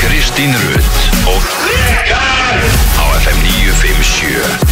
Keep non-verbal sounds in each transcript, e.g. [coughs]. Kristín Rutt og Rikar á FM 957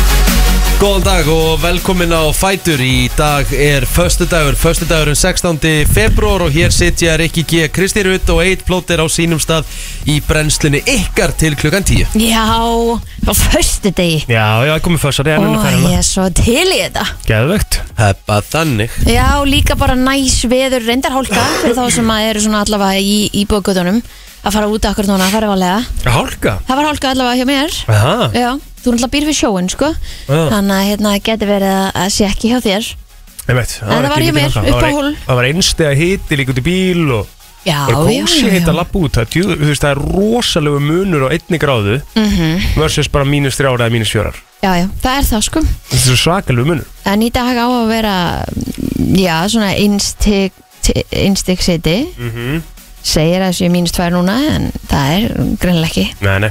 Góðan dag og velkomin á Fætur Í dag er föstudagur, föstudagurinn 16. februar og hér sitja Rikki G. Kristi Rutt og Eitt Plóter á sínum stað í brennslunni ykkar til klukkan 10 Já, á förstu degi Já, já, komið fyrst að það er Ó, ennum ég færðina er svo til í þetta Geðvögt Heppa þannig Já, líka bara næs veður reyndarhólka fyrir þá sem að eru svona allavega í, í bókutunum að fara út akkur núna, fara valega Hálka Það var hálka allavega hjá mér Aha. Já, þú er alltaf býr við sjóin, sko Já. Þannig að hérna geti verið að- að sé ekki hjá þér Einmitt, En það var ekki hjá mér, mikil hálka. upp á Það var ein- hól. Það var einstega hiti líka út í bíl og Já, og já, gósi já, hitt að lappa út það, er djú- þú veist, það er rosalegu munur á einni gráðu versus bara mínus þrjára eða mínus fjórar Mhm, já, já, það er það, sko Þetta er svakalegu munur En í dag á að vera, já, svona innstig, innstig siti Mm. Mhm. Segir að sé mínus tvær núna, en það er greinlega ekki Nei, nei,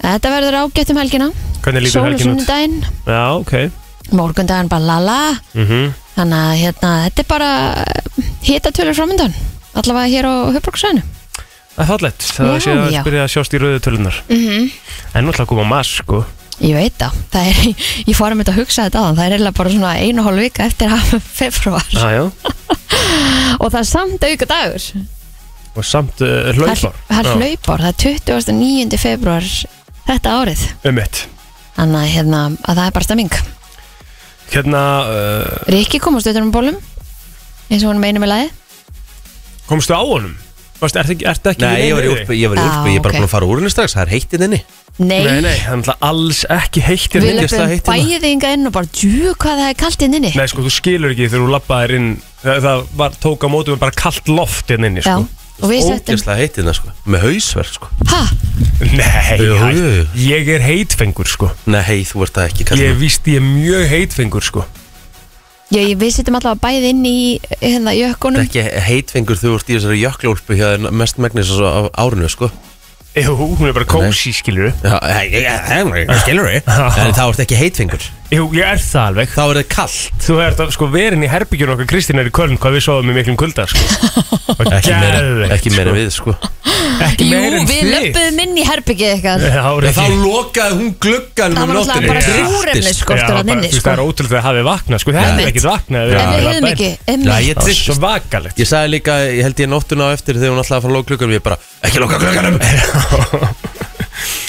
Þetta verður ágætt um helgina hvernig lítur Sól og helgin út? sunnudaginn, Já, ok morgundaginn bara lala mm Þannig að hérna, þetta er bara eh, hitatölur framöndan Allavega hér á höfbruksæðinu Það er fallegt, það Já, sé að já. Mhm. byrja að sjást í rauðu tölunar mm -hmm. En náttúrulega koma mass, sko Ég veit það, það er, [laughs] ég fór að mynda að hugsa þetta aðan Það er eiginlega bara svona einu og hálf vika eftir [laughs] að februar ah, já. Og það er samt auka dagur Og samt uh, Það er- hlaupar Það er Já. hlaupar, það er 29. februar þetta árið Um mitt Þannig að, hérna, að það er bara stemming Hérna, uh, Rikki komast auðvitað um bólum eins og hún meinum í lagi komstu á honum? Varst, ert ekki, ert ekki Nei, ég var í neinu úlpu, ég var í Ah, úlpu, ég er bara ok. búin að fara úr henni strax Það er hérna heittið henni Nei, Nei, nei, það er náttúrulega alls ekki heitt Við hérna inni. það löpum heitt hérna? bæðið inga inn og bara djú hvað það er kalt inn inni Nei, sko, þú skilur ekki þegar þú lappaðir inn Það, það var, tók á mótum bara kalt loft hérna inni, Já, sko og við settum Ógæslega heittið henni sko Með hausverk sko Hæ, Nei, Jú, hæ, jú. ég er heitfengur, sko Nei, þú ert það ekki Ég kallum víst, ég er mjög heitfengur, sko já, ég- við settum allavega bæðið inn í hérna Það jökkunum er ekki heitfengur þú ert í þessari jöklúlpu hjá þér mest megnis á árinu sko Jú, hún er bara kósi, skilur Já, ég- ég- ég- ég- Skilur [laughs] við En þá ert ekki heitfengur Jú, ég er það alveg Þá er það kallt Þú ert að, sko, verin í herbyggjun okkar Kristín er í Köln Hvað við sáðum í miklum kulda, [laughs] sko Og Ekki meira, geðveikt, ekki meira sko. við sko Ekki Jú, meira en við þið. löpum inn í herbyggið eitthvað Já, það Já, voru þá ekki- lokaði hún glugganum Það var um nóttinni náttúrulega bara Já. súrefni Já, skortur að bara, inni þú veist, sko. Það er ótrúlega að hafi vaknað sko, það Einmitt. hefði ekkert vaknað En við höfum ekki, Já, ég emmi Það er tryllist. svakalegt Ég sagði líka, ég held ég nóttuna á eftir þegar hún alltaf að fara að loka glugganum Ég bara, ekki loka glugganum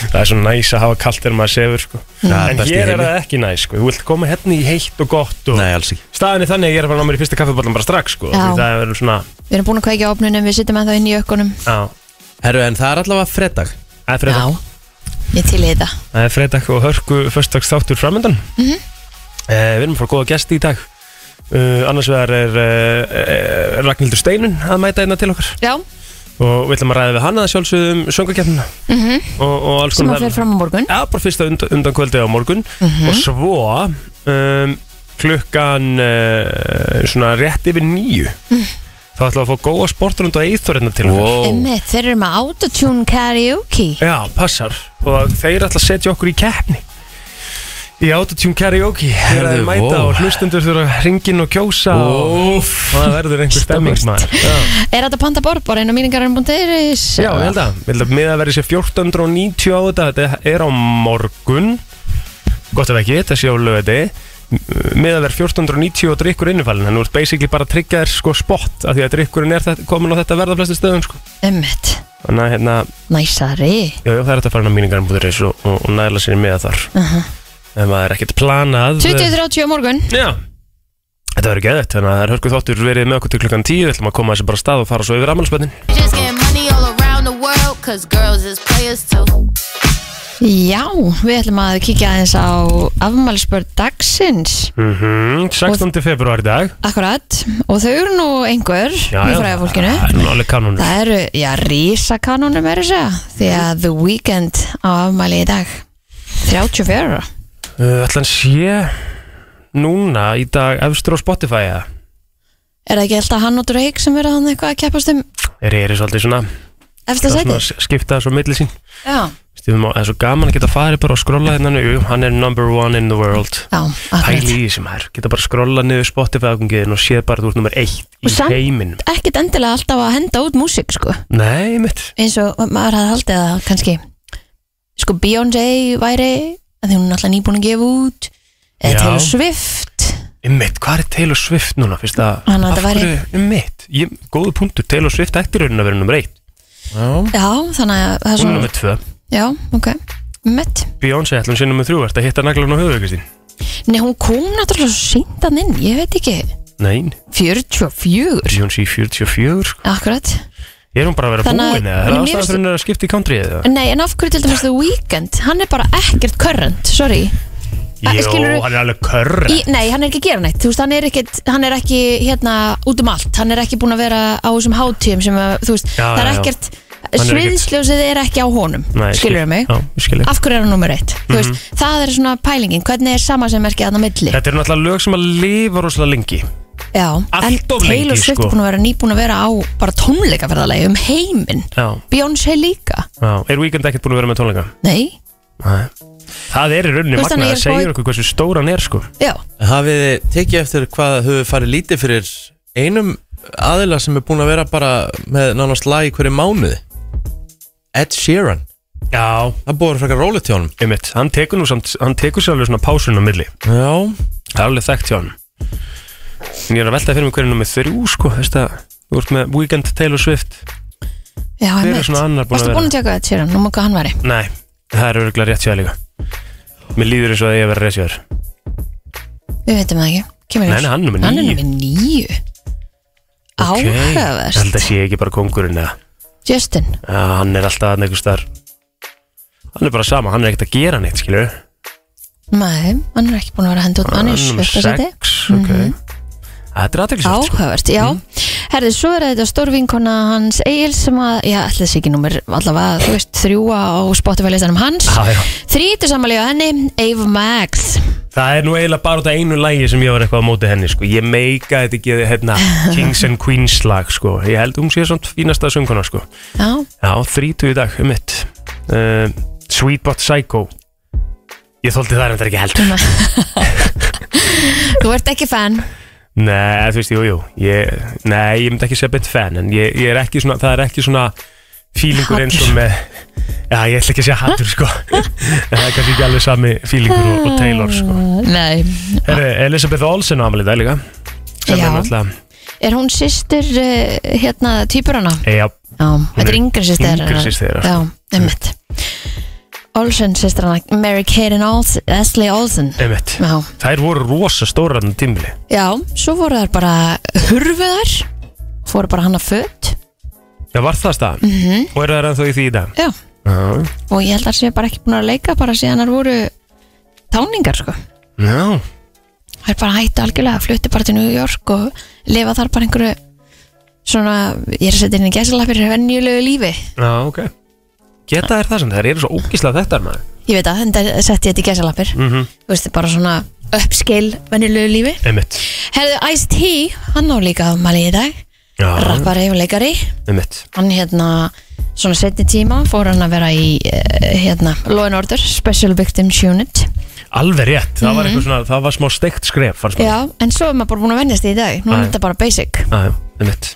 Það er svo næs að hafa kallt þegar maður sefur sko. Það er En best í hér er heimi. það ekki næs sko. Þú vilt koma hérna í heitt og gott og Nei, alls ekki Staðan er þannig að ég er að fara að ná mér í fyrsta kaffibóllan bara strax sko. Já. Því Það er verið svona Við erum búin að kveikja á opnunum, við settum ennþá inn í jökkunum á, Herru, en það er allavega fredag Það Já, er fredag, ég til í þetta það er fredag og hörku Föstags þáttur framöndan mm Mhm. Við erum að fara góða gesti í dag uh, Annars vegar er uh, uh, Ragnhildur Steinun að mæta einna til okkar Já, og við ætlum að ræða við hana að sjálfsögðum söngakeppnina og, og alls Mhm. sem konar að fer fram á morgun Já, bara fyrsta undan, undan kvöldi á morgun og svo um, klukkan uh, svona rétt yfir nýju þá ætlum við að fá góða sportrund og eithverjina til okkar. Emmi, þeir eru með autotune karaoke Já, passar og þeir ætla að setja okkur í keppni í autotune karaoke þegar Herðu, þeir mæta vó. og hlustendur þurfa að ringin og kjósa og, og Óf það verður einhver stemmingsmaður Já. Er þetta panta um borð bara inn á míningarinn.is? Já, ég held að, ég held að miða að vera sér 1490 á þetta, þetta er á morgun Gott ef ekki, þetta sé á löði Miða að vera 1490 og drikkur innifalinn Þannig þú ert basically bara að tryggja þér sko spott af Því að drikkurinn er þetta, komin á þetta verða flestu stöðum sko. Emmett, Þannig að hérna, næsari já, já, það er þetta farin að míningarinn búður reis og, og, og næla sér miða þar En maður er ekkert planað eh, 20.30 á morgun Já Þetta verður geðvægt, þannig að það er hörkuð þáttur verið með okkur til klukkan 10 Við ætlum að koma þessi bara af stað og fara svo yfir ammálspennin Just getting money all around the world, cause girls is players too. Já, við ætlum að kíkja aðeins á afmælisbörn dagsins mm 16. februar í dag Akkurat, og þau eru nú einhver Já, í já. fræðafólkinu Það er nú alveg kanonur Það eru, já, risakanunum er þess að því að The Weeknd á afmæli í dag 34 ára. Uh, ætli hann sé núna í dag efstur á Spotify eða? Er það ekki alltaf hann og Drake sem verða hann eitthvað að keppast um Er ég svolítið svona, eftir svona sæti? s- skipta þessu á milli sín Já, Því við má- Það er svo gaman að geta farið bara og skrolla hérna nú Hann er number one in the world Já, akkurat Pæli í sem er Geta bara skrolla niður Spotify-aðgungiðin og sé bara þú ert nummer eitt Og í samt- heiminum Ekkert endilega alltaf að henda út músík sko Nei, mitt eins og maður hafði haldið að kannski sko Beyoncé væri að því hún er alltaf nýbúin að gefa út Já. eða Taylor Swift Mitt, hvað er Taylor Swift núna? Fyrst að, Hann að þetta væri- Mitt, ég, góðu punktur Taylor Swift ætti raunin að vera nummer eitt já, þannig að það er Hún er svona nummer tvö já, ok, mitt Beyoncé ætlum sé nummer þrjú Ertu að hitta naglan á höfuðu, Kristín? Nei, hún kom náttúrulega svo sínt að inn, ég veit ekki Nein, 44, Beyoncé 44 sko. akkurat Er hún bara að vera Þannig að- búin eða? Mér Er það finnst- ástæðan fyrir henni að skipta í country eða? Nei, en af hverju til dæmis The Weeknd hann er bara ekkert current, sorry Æ, Jó, skilurðu- hann er alveg körr Í, nei, hann er ekki að gera neitt, þú veist, hann er ekki, hann er ekki hérna út um allt, hann er ekki búin að vera á þessum hátíum sem að, þú veist, Já, það er já, já. ekkert, ekkert- sviðsljósið er ekki á honum, skilur mig, Já, ég skilur af hverju er hann nummer eitt, þú veist, það er svona pælingin, hvernig er sama sem merkið hann á milli, Þetta eru náttúrulega lög sem að lifa rosalega lengi já, en allt of lengi, Taylor Swift sko. er búin að vera nýbúin að vera á bara tónleikaferðalegi um heiminn, Já, Beyoncé líka, já Er Weekend ekkert búin að vera með tónleika? nei, Nei Það er í rauninni Þú veist, magna þannig ég Það er segir spáð- okkur hversu stór hann er sko já, Hafið þið tekið eftir hvað höfðu farið lítið fyrir einum aðila sem er búin að vera bara með nánast lag í hverju mánuði Ed Sheeran Já, Það búið að frækka rólið til honum einmitt Hann tekur nú samt, hann tekur sér alveg svona pásun á milli Já, Það er alveg þekkt hjá hann En ég er að velta fyrir mig hverju nummer þrjú sko Veist að Þú ert með Weekend Taylor Swift já, Hver er einmitt. svona annar búin að varstu vera? búin að tjaka þetta sér hann, nú hvað hann væri, Nei, það er örgulega rétt hjá þér líka Mér líður eins og að ég verið rétt hjá þér við veitum það ekki, kemur Nei, ljós. nei, hann er númer hann er níu. nummer níu Ok, áhugavert Held að sé ekki bara kongurinn eða Justin, Já, hann er alltaf hann einhvers þar Hann er bara sama, hann er ekkert að gera neitt, skilur nei, hann er ekki búin að vera að henda út hann er sjötta seti ok Þetta er aðteglisvægt, sko áhugavert, já herði, svo er þetta stór vinkona hans Egil sem að, já, ætla þessi ekki númer allavega, þú veist, þrjúa á Spotify-listanum hans Já, já. þrítu sammæli á henni, Ava Max Það er nú eiginlega bara þetta einu lægi sem ég var eitthvað á móti henni, sko Ég meika þetta ekki, hérna, [laughs] Kings and Queens lag, sko Ég held hún sé svona fínasta sönguna, sko já, Já, 30 í dag, um mitt uh, Sweet But Psycho Ég þóldi það reyndar ekki heldur þú ert ekki fan Nei, þú veist, jú, jú ég, Nei, ég myndi ekki segja beint fan En ég, ég er ekki svona, það er ekki svona Fílingur eins og Hatur. með Já, ég ætla ekki að segja hattur, sko En það er kannski ekki alveg sami fílingur og, og Taylor, sko nei, Heru, Elisabeth Olsen ámalið það líka Sem Mm. Já. er náttúrulega er hún systur uh, hérna, týpurana Já, já, þetta er er yngri systir yngri hennar. systir þeirra, já, emmitt Olsen systir hana, Mary-Kate Olsen, Ashley Olsen einmitt já, um Þær voru rosa stóran tímli Já, svo voru þær bara hurfuðar fóru bara hann að fött Já, var það stað mm -hmm. Mhm. Og eru þær ennþá í því í dag Já, Já, og ég held að það sé bara ekki búin að leika bara síðan þær voru táningar sko já Það er bara hættu algjörlega, flutti bara til New York og lifa þar bara einhverju svona, ég er að setja inn í gæsalapir venjulegu lífi, Já, ok Geta þær það sem þær eru svo ógíslega þetta maður ég veit að þetta setti ég þetta í gæsalapir, Mhm. þú veist, bara svona uppskeil venjulegu lífi Einmitt Herðu Ice-T, hann á líka afmæli í dag, Já, rappari og leikari einmitt hann hérna svona setni tíma fór hann að vera í eh, hérna, Law and Order, Special Victims Unit Alveg rétt, það var eitthvað svona, það var smá steikt skref fannst mér. Mhm. já, en svo er maður bara búin að vennjast því í dag nú Já, er já. þetta bara basic Já, já, einmitt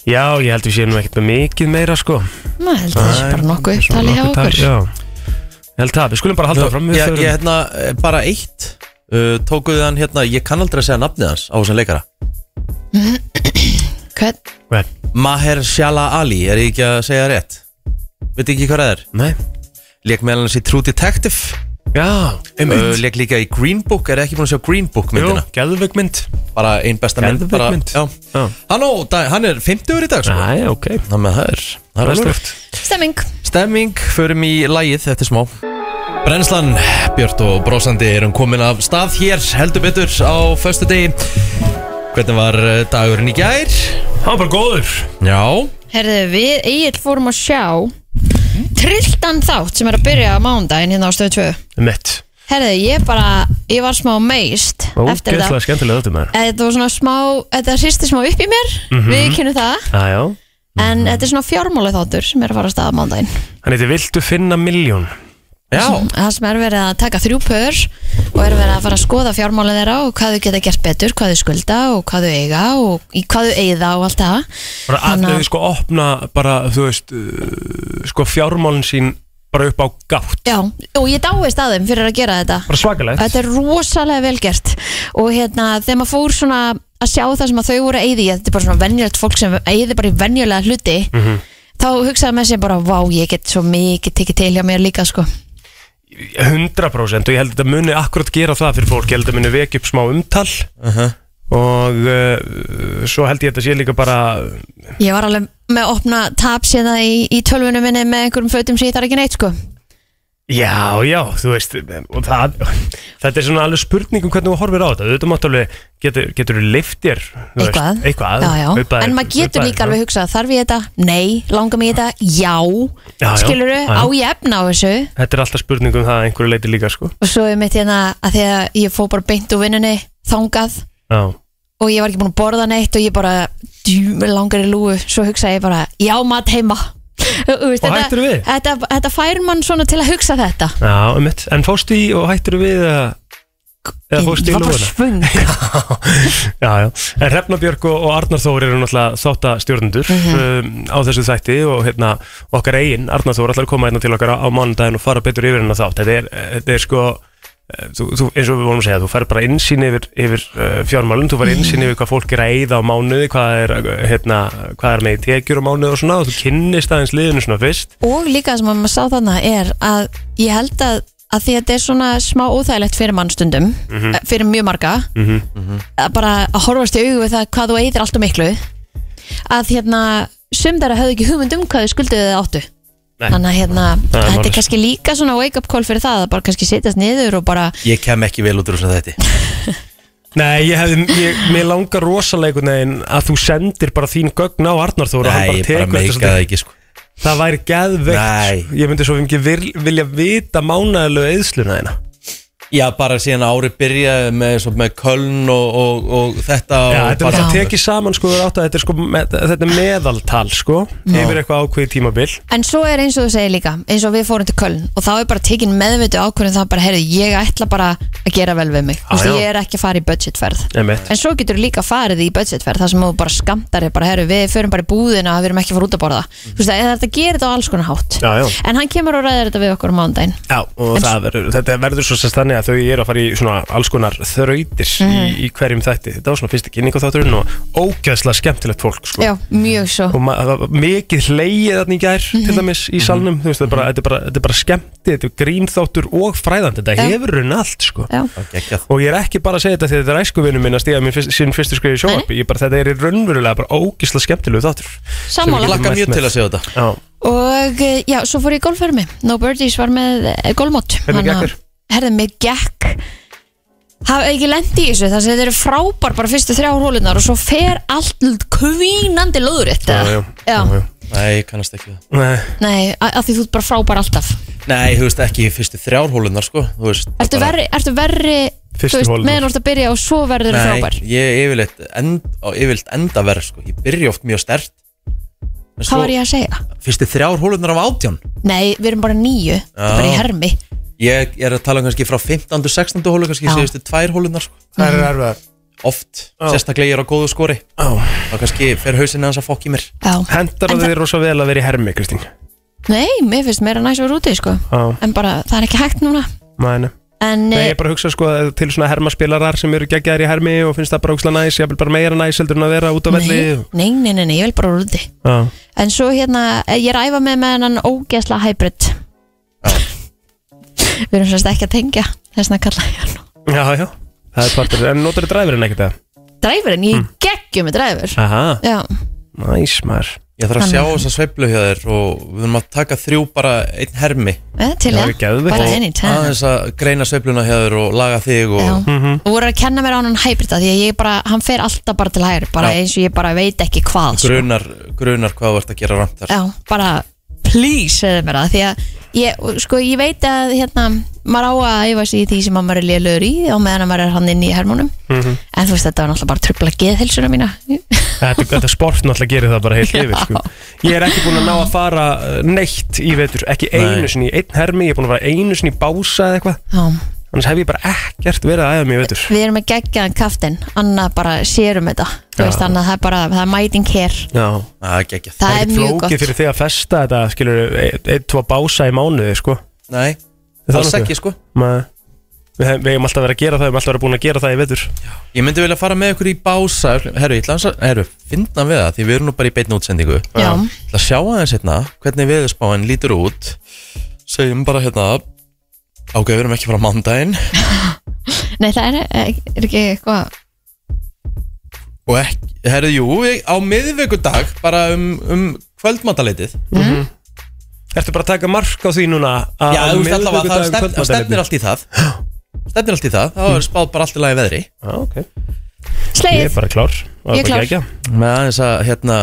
Já, ég held við séum nú ekkert með mikið meira sko Ná, held að þessi Nei, bara nokkuð Svona upptali hjá nokkuð tal, okkur Já, ég held það, við skulum bara halda fram ég, ég hérna eh, bara eitt uh, Tókuðu hann hérna, ég kann aldrei að segja nafnið hans á þessum leikara Hvern, Vel, Mahershala Ali, er ég ekki að segja það rétt? Veit ekki hvað það er? Nei, Lék meðal hans í True Detective já, uh, einmitt Lék líka í Green Book, er ekki búin að sjá Green Book Jú, myndina geðvögg mynd Bara ein besta mynd, Geðveik bara, mynd. Já. Já. Hann, ó, dag- hann er 50 í dag sko. Æ, ok, Þannig að það er, það það er er alveg stöft stemming Stemming, förum í lægið eftir smá Brennslan, Björt og Brósandi erum komin af stað hér heldur betur á föstu degi Hvernig var eh, dagurinn í gær? Það var bara góður Já herðu, við Egil fórum að sjá trilltan þátt sem er að byrja á mándaginn hérna á stöðu 2 Einmitt, herðu, ég bara, ég var smá meist eftir þetta ógeðslega skemmtilega þetta maður Mhm. Eh, þetta var svona smá, þetta hristi smá upp í mér við kynum það Já, já, En þetta er svona fjármála þáttur sem er að fara að staða mándaginn Hann heitir Viltu finna miljón Já, Það sem er verið að taka þrjú pör og er verið að fara að skoða fjármála þeirra og hvað þau geta gert betur, hvað þau skulda og hvað þau eiga og í hvað þau eigða og allt það Bara að Þannig að- þau sko opna bara, þú veist, uh, sko fjármálin sín bara upp á gátt Já, og ég dáist að þeim fyrir að gera þetta Bara svakalegt Þetta er rosalega vel gert og hérna þegar maður fór svona að sjá það sem að þau voru að eyði þetta er bara svona venjulegt fólk sem eyði bara í venjulega hluti Mhm. þá hugsaði maður sér bara vá ég get svo mikið tekið til hjá mér líka sko 100% og ég held að þetta muni akkurat gera það fyrir fólk, ég held að þetta muni vekja upp smá umtal og uh, svo held ég að þetta sé líka bara ég var alveg með að opna tap síðan í, í tölvunum minni með einhverjum fötum sem ég þarf ekki neitt sko Já, já, þú veist og það, þetta er svona alveg spurning um hvernig þú horfir á þetta, auðvitað mátt alveg getur, getur leift þér þú veist, eitthvað, eitthvað já, já. kaupa þér- en maður getur kaupa þér, líka alveg hugsað þarf ég þetta, nei, langar mig í þetta já, Já, já. skilurðu, Já, já. á ég efna á þessu Þetta er alltaf spurning um það að einhverju leiti líka sko. og svo er mitt hérna að þegar ég fó bara beint úr vinnunni þangað Já, og ég var ekki búin að borða neitt og ég bara djúmi langar í lúu svo hugsaði ég bara, já mat heima [laughs] Þú veist, Og þetta- hættirðu við? Þetta, þetta fær mann svona til að hugsa þetta já, einmitt En fórstu í og hættir við að Eða fórstu í Ég var bara lúðuna? svöng Já, já En Hrefnabjörg og, og Arnar Þór eru náttúrulega þáttastjórnendur um, á þessu þætti og hérna okkar eigin Arnar Þór ætlar að koma hérna til okkar á, á mánudaginn og fara betur yfir hennar þátt Þetta er, þetta er sko eh, Þú, þú, eins og við vorum að segja, þú fær bara innsýn yfir, yfir uh, fjármálun, þú fær innsýn yfir hvað fólk er að eyða á mánuði, hvað er, eh, hérna, hvað er með í tekjur á mánuði og svona og þú kynnist aðeins liðinu svona fyrst [laughs] og líka það sem að maður sá þarna er að ég held að, að því að þetta er svona smá óþægilegt fyrir mannstundum mm Mhm. fyrir mjög marga að bara að horfast í augu við það hvað þú eyðir allt og miklu að hérna sum þeirra höfðu ekki hugmynd um hvað þau skulduðu eða áttu Nei. þannig að hérna Það er þetta er málið. kannski líka svona wake up call fyrir það að bara kannski setjast niður og bara ég kem ekki vel út úr þessum þetta Nei, ég hefði, ég, mér langar rosalega einhvern veginn að þú sendir bara þín gögn á Arnar Þór og hann Nei, bara ég bara tekur meika þetta svolítið- það ekki sko Það væri Nei. geðveikt Ég myndi svo mikið vil- vilja vita mánæðilegu eðsluna þeina Já, bara síðan árið byrjaði með, svo, með Köln og, og, og þetta Já, og þetta er bara- alltaf tekið saman sko, átt, þetta, er sko með, þetta er meðaltal sko, yfir eitthvað ákveðið tímabil En svo er eins og þú segir líka, eins og við fórum til Köln og þá er bara tekin meðvitu ákvörðin það bara, heyrðu, ég ætla bara að gera vel við mig. Þú veist, já. ég er ekki að fara í budgetferð. Einmitt. En svo getur þú líka farið í budgetferð þar sem þú bara skamtar þér bara, heyrðu, við förum bara í búðina, við erum ekki að fara út að borða. Þú veist, það- þetta gerir þetta á alls konar hátt. Mm. Já, já. En hann kemur og ræðir þetta við okkur á mándaginn. Já, og það verður, þetta verður svo sérst þannig að þau eru að fara í svona alls konar þrautir Mhm. í, í hverjum þætti Þetta var svona fyrsti kynning á þátturinn og ógeðslega skemmtilegt fólk sko. Já, mjög svo. og ma- það var mikið hleyið þarna í gær Mhm. til dæmis í salnum, þú veist, þetta er bara, þetta er bara, þetta er bara skemmti, þetta er grínþáttur og fræðandi, þetta Já. hefur raun allt sko. Já. Geggjað. og ég er ekki bara að segja þetta því þetta er æskuvinum minn að stíða minn fyrst, sín fyrstu skriði sjóvarpi, ég bara, þetta er í raunverulega bara ógisla skemmtilegu þáttur Sammála. Ég lakka mjög til að segja segja þetta Já, Og eh, já, svo fór ég í golffermi No Birdies var með eh, golfmót Hvernig Þannig að- gekk þér? Herðu, mér gekk Hafði ekki lendi í þessu þar sem þetta eru frábær bara fyrstu þrjá hólunar og svo fer allt kvínandi löður já, já, já, já. Nei, ég kannast ekki það Nei, Nei, a- af því þú ert bara frábær alltaf Nei, þú veist ekki í fyrstu þrjár hólunar sko Þú veist Ertu bara- verri, ertu verri Fyrstu þú holurnar. meðan þú ert að byrja og svo verður þú Nei, frábær ég yfirleitt end, á yfirleitt enda verð sko Ég byrja oft mjög stert En Hvað var ég að segja? fyrstu þrjár hólunar af átján Nei, við erum bara nýju Það er bara í hermi Ég er að tala um kannski frá 15. og 16. hólu kannski Já. síðustu tvær hólunar sko það Mhm. er erfið Oft, sérstaklega ég er á góðu skori Þá kannski fer hausinn aðeins að fokk í mér Já. Hendar En að þið rosa vel að vera í hermi, Kristín Nei, mér finnst meira næs að vera úti sko. Já. En bara, það er ekki hægt núna Mæni. En, Nei, ég eh, er bara að hugsa sko að til svona hermaspilarar sem eru geggjaðir í hermi og finnst það bara ógisla næs, ég vil bara meira næs heldur en að vera út á velli nei, nei, nei, nei, nei, ég vil bara vera úti Já. En svo hérna, eh, ég er að æfa með með hennan ógesla hybrid Við erum sérst ekki að tengja Þess að kalla ég hann já, já, það er partur En notar þið dræfurinn ekkert það? Dræfurinn, ég mm. geggjum með dræfur Aha, Já, næs maður Ég þarf að Þannig. sjá þessa sveiflu hjá þér og við höfum að taka þrjú bara einn hermi eh, til Já, ég, ég geðveikt. bara Og anytime aðeins að greina sveifluna hjá þér og laga þig og Já, og voru að kenna mér á hann hybrida því að ég bara, hann fer alltaf bara til hægri bara Já. eins og ég bara veit ekki hvað sko. grunar, grunar hvað þú ert að gera ramt þar Já, bara please segðu mér það því að ég, sko, ég veit að hérna, maður á að æfa sig í því sem að maður er lélögur í og meðan að maður er hann inn í hermónum Mhm. en þú veist þetta var náttúrulega bara trubla geðhilsuna mína [laughs] Þetta, þetta sport náttúrulega gerir það bara heilt yfir sko. Ég er ekki búin að ná að fara uh, neitt í vetur, ekki Nei. einu sinni í einn hermi, ég er búin að fara einu sinni í bása eða eitthvað, Já. annars hef ég bara ekkert verið að æða mig í vetur við erum að gegja hann kaftin annað bara sérum þetta þú Já. veist þannig að það er bara það er mæting hér Já. Það er ekki það, er ekkert mjög flókið gott fyrir þig að festa þetta, skilur, e- einn, ein, tvo bása í mánuði, sko Nei, Það alls ekki sko Nei. Við hef- við hefum alltaf verið að gera það, við hefum alltaf verið búin að gera það í vetur Ég myndi vilja fara með ykkur í bása Herru, ég ætla aðeins að, herru, finna við það Því við erum nú bara í beinni útsendingu Ég Já. ætla að sjá aðeins hérna Hvernig viðurspáin lítur út Segjum bara hérna Ok, við erum ekki frá mandaginn Nei, það er, er ekki eitthvað Og ekki, herru, jú, við- á miðvikudag Bara um, um kvöldmataleitið Ertu bara að taka mark á því núna að Já, um þú veist alltaf að það miðvikudagurinn stefn, kvöldmatarleytið? stefnir allt í það Stefnir allt í það, þá er spáð bara allt í lagi veðri Já, ok. Ég er Sleið, bara klár Ég Það er bara klár. geggjað. Með aðeins að, hérna,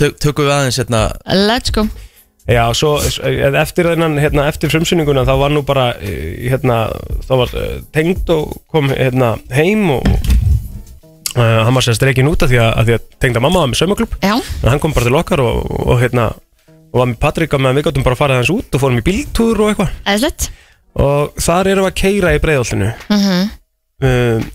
tök- tökum við aðeins hérna let's go Já, svo s- eh, eftir þennan, hérna, eftir frumsýninguna þá var nú bara, eh, hérna, þá var eh, tengd og kom hérna heim og uh, hann var sérst reygin út af því að, að því að tengda mamma var með saumaklub Já, en hann kom bara til okkar og, og hérna og var með Patrik að meðan við gáttum bara að fara hans út og fórum í bíltúr og eitthvað eðlert og þar erum við að keira í breiðoltinu Mhm. um,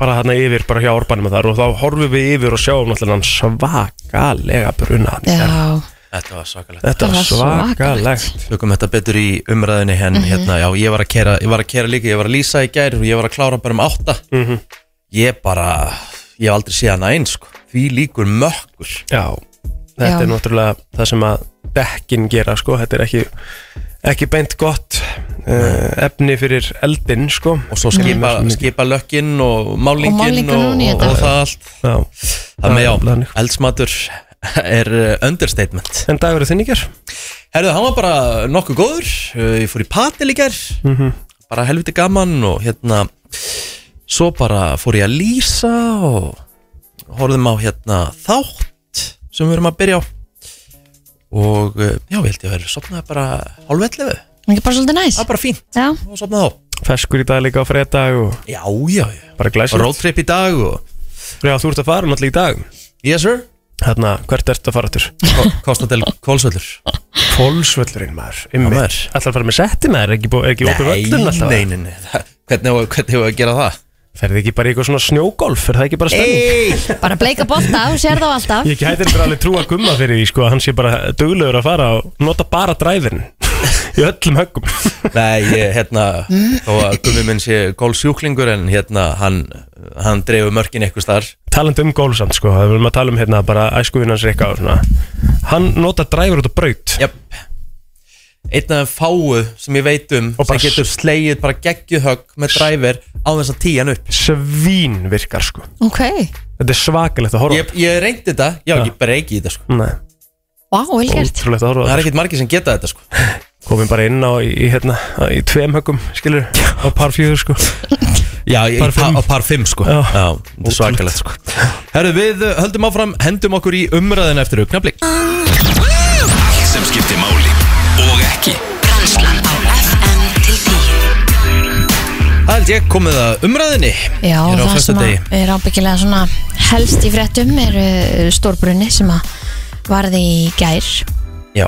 bara hérna yfir, bara hjá orbanum og þar og þá horfum við yfir og sjáum náttúrulega hann svakalega bruna hann í garð. Já, Þetta var svakalegt Þetta Það var var svakalegt. svakalegt Tökum þetta betur í umræðinni en Mhm. hérna, já, ég var að kera, ég var að kera líka, ég var að lýsa í gær og ég var að klára bara um átta Mhm. Ég bara, ég hef aldrei séð hana eins, sko Því líkur mökkur Já, þetta Já. er náttúrulega það sem að dekkin gera sko, þetta er ekki, ekki beint gott uh, efni fyrir eldin sko Og svo skipa, skipa lökkinn og málingin Og málingurinn og, ofan í og, þetta. það allt Já. Það með já, er sko. þannig. eldsmatur er uh, understatement En dagur þinn í ger Herðu, hann var bara nokkuð góður Uh, Ég fór í patil í gær Bara helviti gaman og hérna Svo bara fór ég að lýsa og horfðum á hérna þátt sem við erum að byrja á og uh, já, ég held ég verið sopnaði bara hálfvellefu, ekki bara svolítið næs það var bara fínt Já, og sopnaði þá, Feskur í dag líka á fredag og já, já, já bara glæsir Roadtrip í dag og Já, þú ert að fara náttúrulega í dag Yes sir Þarna, hvert ertu að fara til? Kostnadel Kólsvöllur Fólsvöllurinn maður, ymmi maður. Ætlar að fara með setti maður, ekki, bú- ekki opið völlun alltaf nei, nei, nei [laughs] það- Hvernig hefur hvernig hefur að gera það? Ferði ekki bara í eitthvað svona snjógolf, er það ekki bara spenning? bara bleika bolta og sér þá alltaf Ég gæti bara alveg trú að gumma fyrir því sko að hann sé bara duglegur að fara og nota bara dræfin [laughs] í öllum höggum Nei, ég, hérna þó að gummi minn sé gólsjúklingur en hérna, hann, hann dreifur mörkin eitthvað starf Talandi um gólfsamt sko, það viljum að tala um hérna bara æskuvinnans Rikka og svona Hann nota dræfur út á braut Jöp Einn af þeim fáu sem ég veit um Og bara sem getur slegið bara geggjuhögg með dræfir á þess að tíjan upp Svín virkar sko Ok, Þetta er svakalegt að horfa Ég, ég reyndi þetta, já, ég breyki í þetta sko á. Nei, vá, wow, velgert ótrúlegt að Það horfa er á. ekkert margir sem geta þetta sko Komin bara inn á í, í, hérna, í tveim höggum skilur á par fjöður sko Já, ég, Par par fimm. á par 5 sko Já. Já, þetta er svakalegt sko Herru, við uh, höldum áfram, hendum okkur í umræðin eftir augnablík Allt sem skiptir máli og ekki Brennslan á FM til 10 Það held ég komið að umræðinni Já, Hér á það sem föstudegi. að er ábyggilega svona helst í fréttum er uh, stórbrunni sem að varði í gær Já,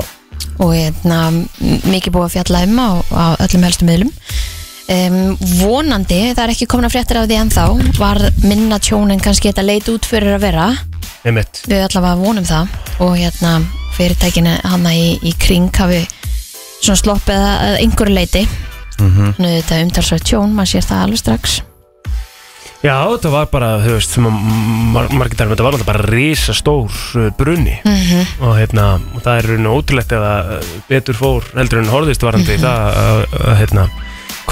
og hérna m- mikið búið að fjalla um á, á öllum helstu miðlum um, vonandi, það er ekki komin að fréttir af því ennþá var minna tjón en kannski þetta leit út fyrir að vera Einmitt. við allavega vonum það og hérna fyrirtækinu hana í, í kring hafi svona sloppið að að einhverju leiti Mhm. þannig að þetta umtalsvægt tjón, maður sér það alveg strax Já, þetta var bara, þú veist, sem að mar margir dærum, þetta var alltaf bara risastór uh, brunni og hérna, og það er raun og ótrúlegt ef að uh, betur fór heldur en horðist varandi það, að, að, hérna,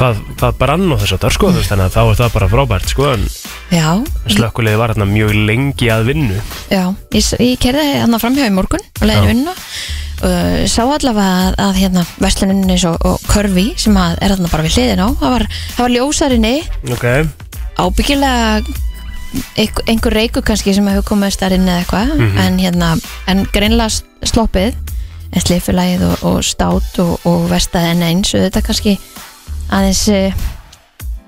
hvað, hvað brann og þess að það, sko, þú veist, þannig að þá er það bara frábært, sko, en Já, slökkulegði var hérna mjög lengi að vinnu. Já, ég, ég kerði hann framhjá í morgun og leiði unna uh, sá allavega að, að hérna versluninni og, og körfi sem að er þarna bara við hliðin á það var, það var ljósarinni Ok. ábyggilega einhver, einhver reyku kannski sem hefur komið starinn eða eitthvað en hérna, en greinlega sloppið en slifilagið og, og stát og, og vestaði enn eins og þetta kannski aðeins eh,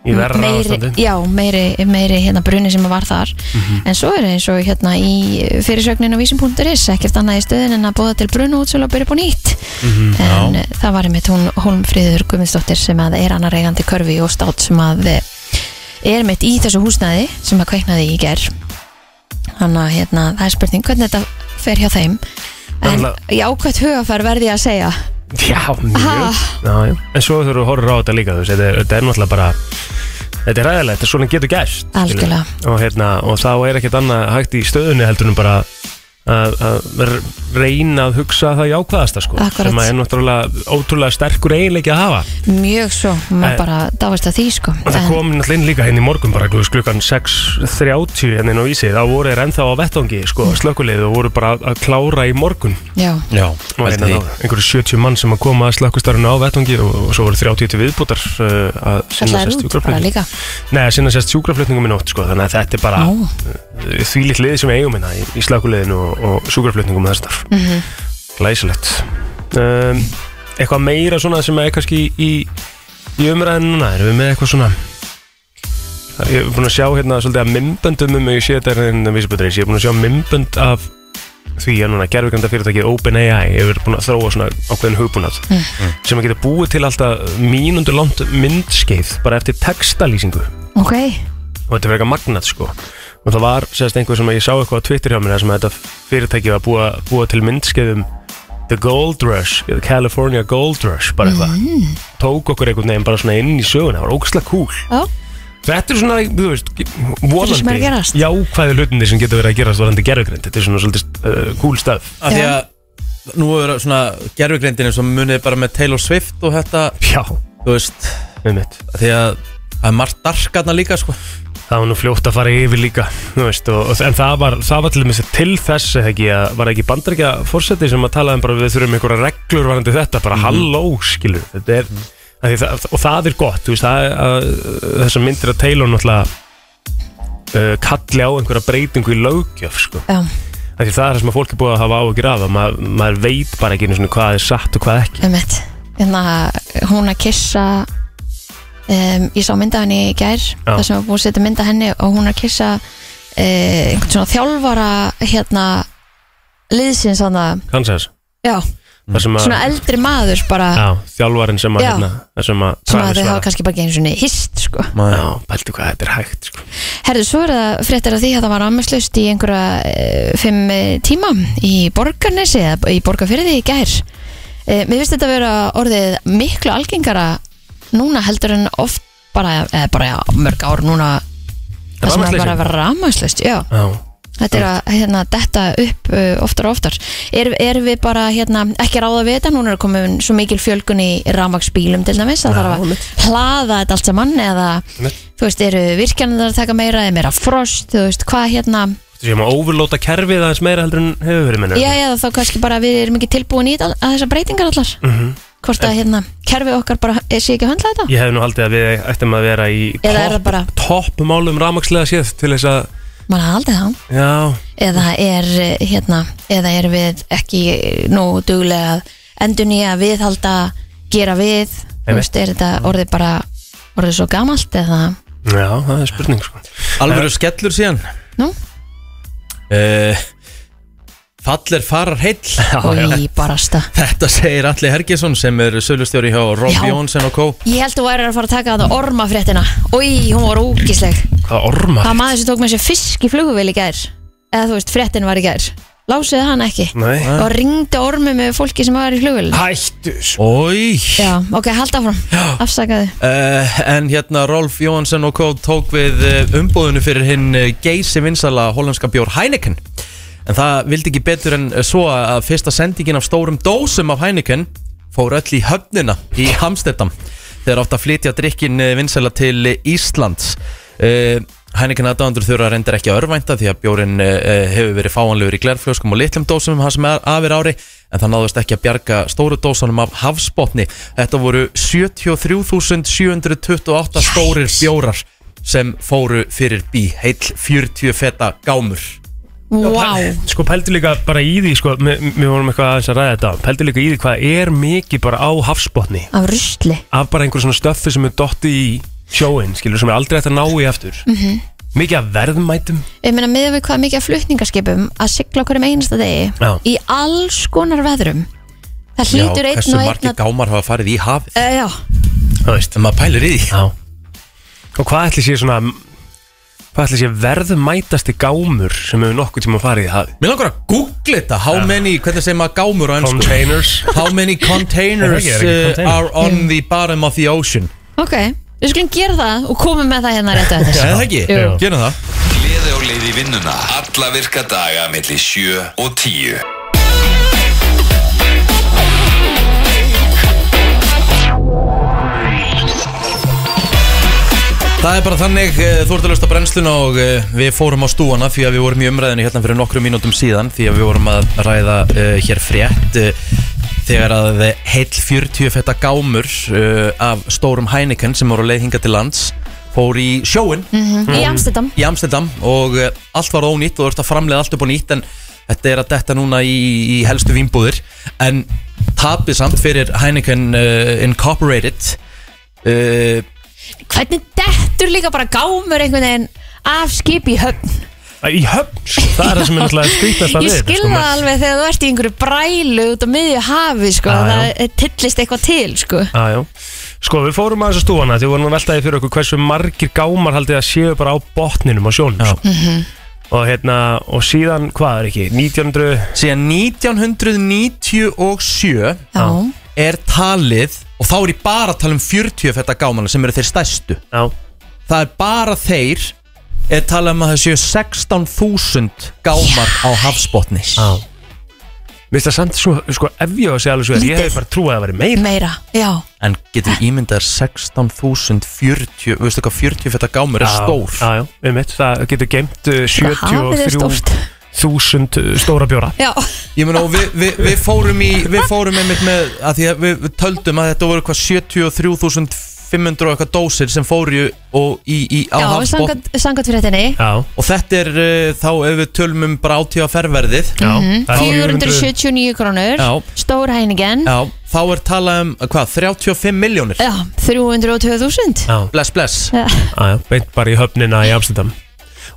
Í verra Mm, meiri, ástandi Mhm. já, meiri, meiri hérna bruni sem var þar en svo er eins og hérna í fyrirsögnin á vísum.is ekkert annað í stöðin en að bóða til brunu útsölu og byrja upp á nýtt Mhm, en já. það var einmitt hún Holmfríður Guðmundsdóttir sem að er annar eigandi körfi og stát sem að eh, er mitt í þessu húsnæði sem að kveiknaði í ger þannig að hérna, það er spurning hvernig þetta fer hjá þeim en Náttúrulega- í ákvæmt hugafær verði ég að segja Já, Ha. mjög já, já. En svo þurfum við að horfa á þetta líka þú veist, þetta, er- þetta er náttúrulega bara Þetta er ræðilegt, þetta er svona getur gæst Algjörlega. og, hérna, og þá er ekkert annað hægt í stöðunni heldur en bara að að r- reyna að hugsa það jákvæðasta sko, Akkurat. sem að er náttúrulega ótrúlega sterkur eiginleiki að hafa mjög svo, maður En- bara dáist að því sko Og það En- kom náttúrulega inn líka henni í morgun bara glús, klukkan 6.30 henni á Ísi þá voru þeir ennþá á vettangi sko, Mm. slökkulið og voru bara að klára í morgun já, Já, og held hérna því þá einhverju 70 mann sem að koma að slökkustarinu á vettungi og, og svo voru 30 til viðbútar uh, að sinna kallar sérst út bara sjúkraflutningum líka Nei, að sinna sérst sjúkraflutningum í nótt sko, þannig að þetta er bara Ó. uh, þvílitt lið sem við eigum hérna í, í slökkuliðinu og, og sjúkraflutningum og þessar mm Glæsilegt um, Eitthvað meira svona sem er kannski í, í umræðinu núna erum við með eitthvað svona Ég er búin að sjá hérna svolítið að mymböndum um mig, ég sé þetta er hérna vísaböndreis, ég er búin að sjá mymbönd af því að núna gerfugranda fyrirtækið OpenAI hefur búin að þróa svona ákveðin hugbúnað sem að geta búið til alltaf mínundur langt myndskeið bara eftir textalýsingu og ok, þetta verður eitthvað magnat sko og það var sérst einhver sem að ég sá eitthvað á Twitter hjá mér þar sem að þetta fyrirtæki var búið að búa til myndskeiðum The Gold Rush, eða California Gold Rush bara eitthvað, Mm. tók okkur einhvern veginn bara svona inn í söguna, það var ógæslega cool já, Þetta er svona, þú veist, sem er að vonandi gerast. jákvæði hlutinni sem getur verið að gerast varandi gerfugrind, þetta er svona svolítið uh, cool stöð Af því að nú er svona gerfugrindinu sem munið bara með Taylor Swift og þetta Já, Þú veist, með mitt af því að það er margt darkarna líka sko Það var nú fljótt að fara yfir líka þú veist, og, og, En það var, það var til dæmis til þess eða ekki, að, var ekki bandarækja fórseti sem að talaði um bara við þurfum einhverja reglur varandi þetta, bara halló skilur þetta er, mm. það, og það er gott þú veist, það, er að, þessar myndir að Taylor náttúrulega uh, kalli á einhverja breytingu í löggjöf sko. já, Af Því það er það sem að fólk er búið að hafa áhugir af að maður, maður veit bara ekki einu sinni hvað er satt og hvað ekki einmitt hérna, hún að kissa um, ég sá mynda henni í gær Já. þar sem var búið að setja mynda henni og hún að kissa uh, einhvern svona þjálfara hérna liðsins hann að, Kansas já, Þar sem að svona eldri maður bara, já, þjálfarin sem að, Já. hérna, þar sem að sem að Travis þau var hafa kannski bara genið svona hist, sko Já, pæltu hvað þetta er hægt sko. Herðu, svo er það fréttir af því að það var ámjöslust í einhverja uh, fimm eh, tíma í borgarnesi eða í borgarfyrði í gær. Uh, mér finnst þetta að vera orðið miklu algengara núna heldur en oft bara, eða bara já, mörg ár núna það sem að Rafmagnsleysi? bara vera rámjöslust, já. Já, Þetta er að hérna, detta upp uh, oftar og oftar. Er, er við bara hérna, ekki að ráða við þetta? Núna er komin svo mikil fjölgun í rámaksbílum til dæmis. Það þarf að hlaða þetta allt saman eða þú veist, eru virkjarnar að taka meira eða meira frost, þú veist, hvað hérna þú séum að overlóta kerfið aðeins meira heldur en hefur verið minna já, já, þá kannski bara við erum ekki tilbúin í þetta- að þessar breytingar allar hvort að hérna, kerfi okkar bara er, sé ekki að höndla þetta? Ég hef nú haldið að við ættum að vera í Eða er það bara- topp málum ramakslega séð til þess að Man haldi það Já, eða er eh, hérna, eða er við ekki nú duglega að endur nýja viðhalda, gera við þú Einmitt. veist, er þetta orðið bara orðið svo gamalt eða já, það er spurning sko. Alvöru skellur síðan nú, uh, Faller farar heill [laughs] og í barasta Þetta segir Alli Hergesson sem er sölustjóri hjá Rob Já. Jónsson og Co Ég held þú væri að fara að taka þetta ormafréttina Új, hún var úkisleg Hvað orma? Það maður sem tók með sér fisk í flugvél í gær Eða þú veist, fréttin var í gær Lásuðu hann ekki Nei Og ringdi ormi með fólki sem var í flugvél Hættu sko. Ói Já, ok, halda áfram Afsakaðu Uh, en hérna Rolf Jóhansson og Kóð tók við uh, umbúðinu fyrir hinn uh, geysi vinsala hollenska bjór Heineken en það vildi ekki betur en uh, svo að fyrsta sendingin af stórum dósum af Heineken fór öll í höfnina í Hamstedam þegar átt að flytja drikkin uh, vinsala til uh, Íslands uh, Heineken aðdáðandur þurfa reyndar ekki að örvænta því að bjórin uh, uh, hefur verið fáanlegur í glerfljóskum og litlum dósum hans sem er afir ári en það náðust ekki að bjarga stóru dósanum af hafsbotni. Þetta voru 73.728 stórir bjórar sem fóru fyrir bí, heill 40 feta gámur. Vá, Sko pældi líka bara í því sko, mi- mi- Við vorum eitthvað aðeins að ræða þetta Pældi líka í því hvað er mikið bara á hafsbotni af rusli Af bara einhver svona stöffi sem er dotti í sjóin Skilur sem er aldrei hægt að ná í aftur Mhm. Mikið að verðmætum Ég meina miðað við hvað mikið af flutningaskipum að sigla á hverjum einasta degi Já. í alls konar veðrum Það hlýtur einn hversu og margir einn að gámar hafa farið í hafið Uh, já, Það veist þegar maður pælir í því Já Og hvað ætli sé svona Hvað ætli sé verðmætasti gámur sem hefur nokkuð tíma farið í hafi Mér langar að googla þetta How many, hvernig segir maður gámur á Sko. ennsku [laughs] Containers How many Er það containers ekki- er það ekki uh, container? are on the bottom of the ocean ok Við skulum gera það og komum með það hérna rétt að Er [laughs] þess það ekki? Jú. Gerum það Gleði á leið í vinnuna Alla virka daga millir 7 og 10 Það er bara þannig, eh, þú ert að lösta brennslun og eh, við fórum á stúana því að við vorum í umræðinu hérna fyrir nokkrum mínútum síðan því að við vorum að ræða uh, hér frétt uh, þegar að heil 40 fetta gámur uh, af stórum Heineken sem voru að leið hinga til lands fór í sjóin Í Amsterdam í Amsterdam og eh, allt var ónýtt og þú ert að framlega allt upp á nýtt en þetta er að detta núna í, í helstu vínbúðir en tapið samt fyrir Heineken uh, Incorporated uh, Hvernig dettur líka bara gámur einhvern veginn af skip í höfn Í höfn sko. Það er það sem er náttúrulega skrítast að Ég við þetta, skil sko, það með- alveg þegar þú ert í einhverju brælu út á miðju hafi sko, Já, já. það eh, tillist eitthvað til sko. Já, já. Sko, við fórum aðeins að stúana því við vorum að veltaði fyrir okkur hversu margir gámar haldið að séu bara á botninum á sjónum Já. sko. Mhm. og hérna, og síðan, hvað er ekki 1900, síðan 1997 Já, er talið og þá er ég bara að tala um 40 fetta gámana sem eru þeir stærstu já, það er bara þeir er talað um að það séu 16.000 gámar á hafsbotni já Vist það samt, svo, sko, ef ég á að segja alveg svo er, ég Lítið. hefði bara trúið að það væri meira meira, já en getur ímyndar 16.040 veistu hvað 40 fetta gámar er Já, stór Já, já, um mitt, það getur eh, geimt Hafið er stórt 73.000 eh, stóra bjóra Já, ég meina og við, við, við fórum í við fórum einmitt með að því að við, við töldum að þetta voru hvað 73.500 og eitthvað dósir sem fóru og í, í á já hafsbotni sangat, sangat fyrir henni Já, og þetta er uh, þá ef við tölum um bara átíða ferverðið já það er 479 krónur Já. Stór hæningen Já, þá er talað um, hvað, 35 miljónir Já, 302.000 Já, Bless, bless Já. Já, já, beint bara í höfnina í Amsterdam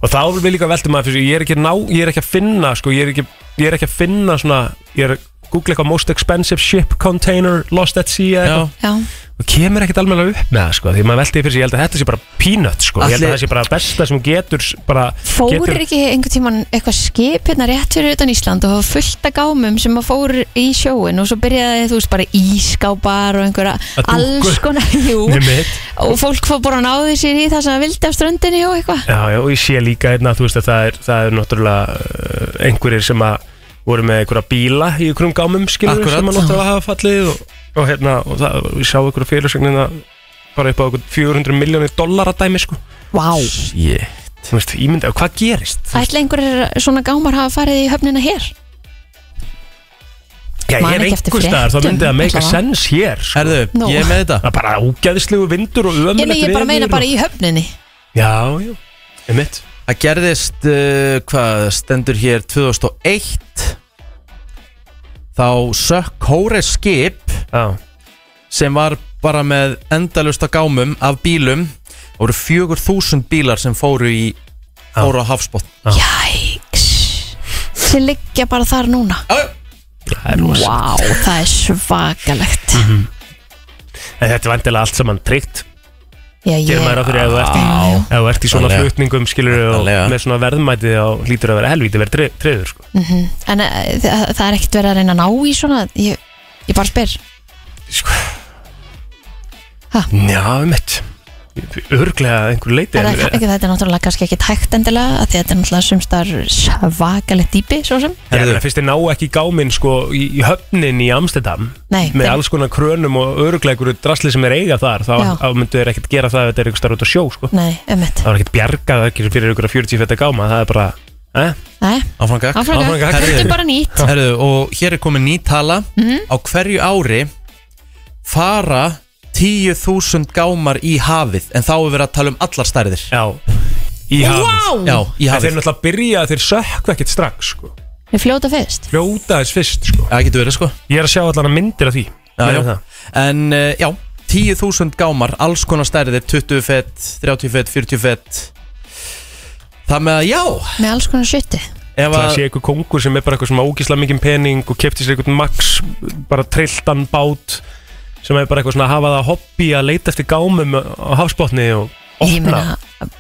Og þá vil líka velta maður fyrir sér, Ég er ekki að ná, ég er ekki að finna sko, ég, er ekki, ég er ekki að finna svona Ég er að googla eitthvað most expensive ship container Lost at sea Eh. eða Já, eitthvað Já, Og kemur ekkert alveg upp með það sko Því maður velti því fyrir sér, ég held að þetta sé bara peanut sko Ég held Ætli- að það sé bara besta sem getur s- bara, fórir getur, ekki einhvern tímann eitthvað skip hérna rétt fyrir utan Ísland og það var fullt af gámum sem að fór í sjóin og svo byrjaði þú veist bara ískápar og einhverja Að dúkku. alls konar [laughs] jú, Nei, mitt. og fólk fór bara að náði sér í það sem það vildi af ströndinni og eitthvað Já, já, og ég sé líka einna að þú veist að það er, það er náttúrulega uh, einhverjir sem að voru með einhverja bíla í einhverjum gámum skilur Akkurat. sem að náttúrulega hafa fallið og, og hérna, og það, og ég sá einhverja fyrirsögnina bara upp á einhver 400 miljónir dollara dæmi sko, Vá yeah. þú veist, ímynda, hvað gerist? Ætla einhverjir svona gámar hafa farið í höfnina hér Já, ég man er ekki eftir einhver staðar, það fréttum, myndi að make a allavega. sense hér sko. Herðu, Nú. ég er með þetta Það er bara ógæðislegu vindur og Ég, meina, ömulegt ég bara meina veður bara og- í höfninni Já, já, ég mitt Það gerðist, uh, hvað, stendur hér 2001 Þá sökk Kóre skip Já, sem var bara með endalusta gámum af bílum Það voru 4.000 bílar sem fóru í fóru á hafsbott Jæks sem liggja bara þar núna það er rosa Vá, það er svakalegt Mhm. En þetta er vantilega allt saman tryggt Já, ég, gerir maður á fyrir ef þú ert í, ef þú ert í svona Allega. flutningum skilur og Allega. með svona verðmæti þá lítur að vera helvítið verið tre- treður sko. En uh, það, það er ekkert verið að reyna að ná í svona Ég, ég bara spyr sko. Ha? Já, mitt örglega einhver leiti Er en, það ekki, ekki- Þetta er náttúrulega kannski ekki tækt endilega af Því að þetta er náttúrulega sumstar svakalegt dýpi Svo sem ég meina, fyrst þið ná ekki í gáminn sko, í, í höfnin í Amsterdam Nei, með þeim- alls konar krönum og örglega einhverju drasli sem er eiga þar þá Já. þá myndu þeir ekkert gera það ef þetta er einhver starf út á sjó sko. Nei, um ummitt það var ekkert bjargað ekki fyrir einhverja 40 fætta gáma það er bara, eh? Nei, Áfram gakk áfram Áfram gakk. gakk. Þetta er bara nýtt Herðu, og hér er komin ný tala Mhm. Á hverju ári fara 10.000 gámar í hafið En þá er verið að tala um allar stærðir Já, í Já, í hafið En þeir hafið náttúrulega byrja að þeir sökva ekkert strax sko. Við fljóta fyrst Fljóta þess fyrst sko. Það getur verið sko Ég er að sjá allan að myndir af því já, Meira já. en það. En uh, já, 10.000 gámar Alls konar stærðir, 20 fett, 30 fett, 40 fett Það með að já með alls konar sjutti Ef Það að sé einhver kongur sem er bara eitthvað sem á ógislega mikið pening og kefti sér einhvern max bara trilltan bát sem er bara eitthvað svona að hafa það hobby að leita eftir gámum á hafsbotni og Ég opna meina,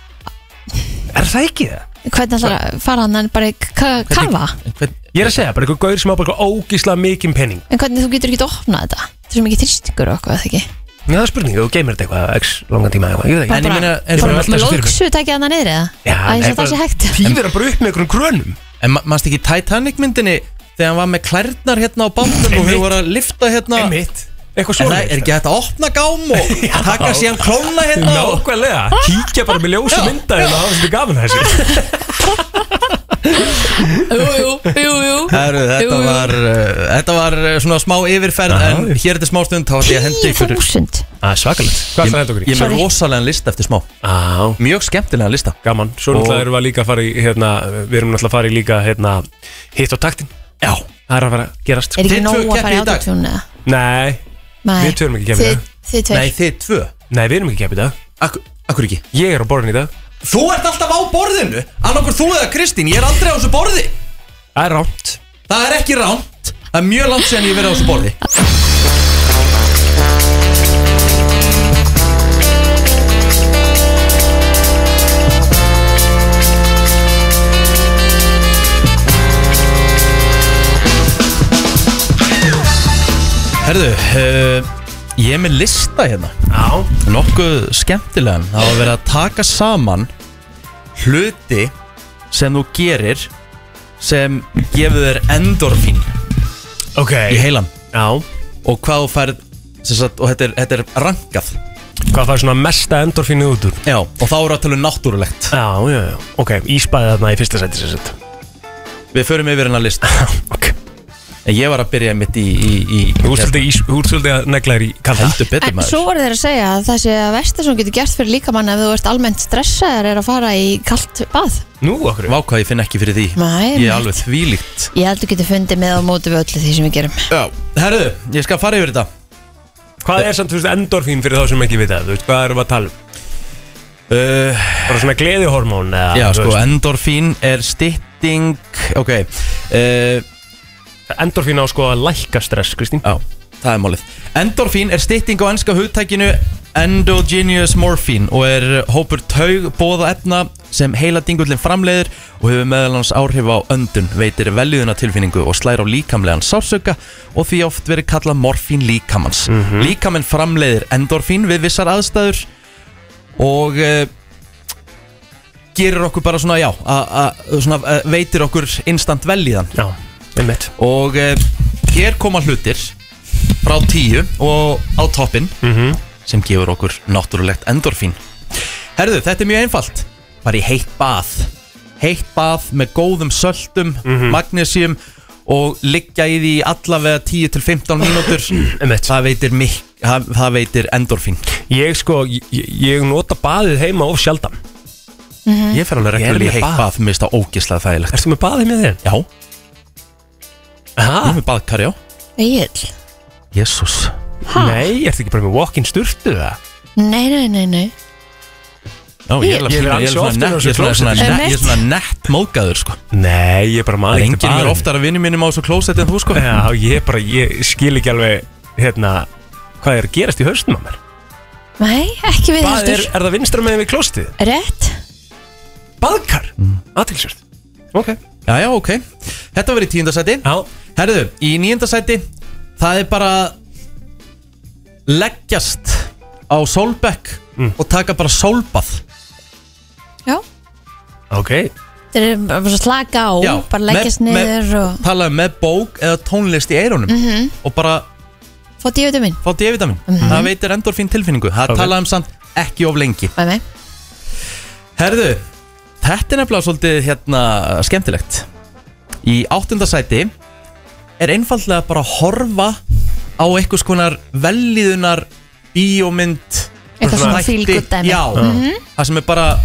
Er það ekki það? hvernig ætlar að fara hann en bara í ka- kafa hvern, Ég er að segja, bara einhver gaur sem á bara eitthvað ógislega mikið pening En hvernig þú getur ekki að opna þetta Það er svo mikið þrýstingur og okkur, eða ekki Já, það er spurning, þú geymir þetta eitthvað x langan tíma eitthvað, ég veit En ekki ég meina, er það bara velta Með þessu fyrir mér. lóksu takja hann niður eða Já, Það er nei, svo það sé [laughs] bara- hægt Týðir að bara upp með einhverjum grönum En ma mannst ekki Titanic myndinni Þegar hann var með klærnar hérna á bátnum Og Einmitt. þau voru að lifta hérna Einmitt, eitthvað En svona það er ekki hægt að opna gám [laughs] og taka síðan klóna hérna og- Nákvæmlega, kíkja bara með ljósa mynda en það hafa svolítið gafin þessi Jú, jú, jú, jú Herru, þetta Jú, jú. var, uh, þetta var uh, svona smá yfirferð En hér er þetta smá stund Þá ætti ég að hendi ykkur 10.000 Það er svakalegt Hvað er það hendur okkur Ah, í? Ég er með Sorry. rosalega lista eftir smá Á, Mjög skemmtilega lista gaman, svo Og- náttúrulega erum við líka að fara í hérna, við erum náttúrulega að fara í líka hérna, hitt á taktin, Já það er að fara að gerast sko. Er Þið ekki tvö nóg að keppið fara í í dag. autotune eða Nei, Nei. Við tveir erum ekki keppið í Þið- dag. Nei, Þið tveir þið tvö nei við erum ekki keppið í dag Akkur, akkur ekki Ég er á borðin í dag, Þú ert alltaf á borðinu Annarkur þú eða Kristín Ég er aldrei á þessu borði það er rámt Það er ekki rámt Það er mjög langt séðan ég hef verið á þessu borði Herðu, uh, ég er með lista hérna Já, nokkuð skemmtilegan það var verið að taka saman hluti sem þú gerir sem gefur þér endorfín ok í heilan Já, og hvað þú færð sem sagt, og þetta er, þetta er rankað hvað fær svona mesta endorfínu út úr? Já, og þá eru að tala um náttúrulegt Já, já, já, ok, íspaðið þarna í fyrsta seti sér sett Við förum yfir hennar list Ok, En ég var að byrja mitt í, í, í þú ert svolítið ís- þú ert svolítið að negla þér í kalda Heldur betur En svo maður voru þeir að segja að það sé að versta sem þú getur gert fyrir líkamann ef þú ert almennt stressaður er að fara í kalt bað Nú, okkur Vá hvað ég finn ekki fyrir því Nei, Ég er nei. alveg þvílíkt Ég held þú getur fundið með á móti við öllu því sem við gerum Já Herðu, ég skal fara yfir þetta Hvað er samt, þú veist, endorfín fyrir þá sem ekki vita það, þú veist, hvað erum við að tala um? uh, Bara svona gleðihormón eða, Já, þú sko, veist, endorfín er stytting Ok uh, Endorfín á sko að lækka stress, Kristín Já, það er málið Endorfín er stytting á ennska hugtækinu Endogenous morphine og er hópur taug, bóða efna sem heila dingullin framleiðir og hefur meðal hans áhrif á öndun, veitir veljuðuna tilfinningu og slær á líkamlegan sársöka og því oft verið kallað morfín líkamans. Mm Líkamin framleiðir endorfín við vissar aðstæður og uh, gerir okkur bara svona, já, a- a- svona, uh, veitir okkur instant veljiðan Já, einmitt og eh, hér koma hlutir frá tíu og á toppin Mhm. sem gefur okkur náttúrulegt endorfín Herðu, þetta er mjög einfalt bara í heitt bað heitt bað með góðum söltum Mhm. magnesium og liggja í því allavega 10-15 mínútur [clears throat] Einmitt. það veitir mik það, það veitir endorfín Ég sko, ég, ég nota baðið heima of sjaldan Mhm. ég fer alveg Ég er reglulega í með heitt bað. bað, bað mér finnst það ógislega þægilegt Ertu með baðið með þér? já, Aha. Ah. ég er með baðkarjá Egil jésús Nei, ertu ekki bara með walk-in sturtu það? Nei, nei, nei, nei Já, ég er Ég er alveg- ég er ansi svona oftar á nett- þessu ég er svona- svona klósetti. nett- ég er svona nett mókaður sko Nei, ég er bara Það maður er ekkert í enginn mér baðinu. oftar að vinni mínum á þessu klósett en þú sko Já, ég er bara, ég skil ekki alveg, hérna, hvað er að gerast í haustum á mér? Nei, ekki við Bað er, heldur er það vinstra meðin við klóstið? Rétt Baðkar? Mm. Aðtilsvörð Ok Já, já, ok Þetta var í tíundasæti Já, Herðu, í níundasæti Það er bara Leggjast á sólbekk Mm. Og taka bara sólbað Já ok Þeir eru bara svo slaka á, Já, bara leggjast með- með- niður og Mhm. Talaðu með bók eða tónlist í eyrunum -hmm. Og bara fá díutum minn fá D-vitamin Mhm. Það veitir endorfín tilfinningu Það Ok. okay. talaðu um samt ekki of lengi Með mig Herðu, þetta er nefnilega svolítið hérna skemmtilegt Í áttunda sæti er einfallega bara að horfa á einhvers konar velliðunar bíómynd Eitthvað svona þætti. feel good dæmi. Mhm. Já, það sem er bara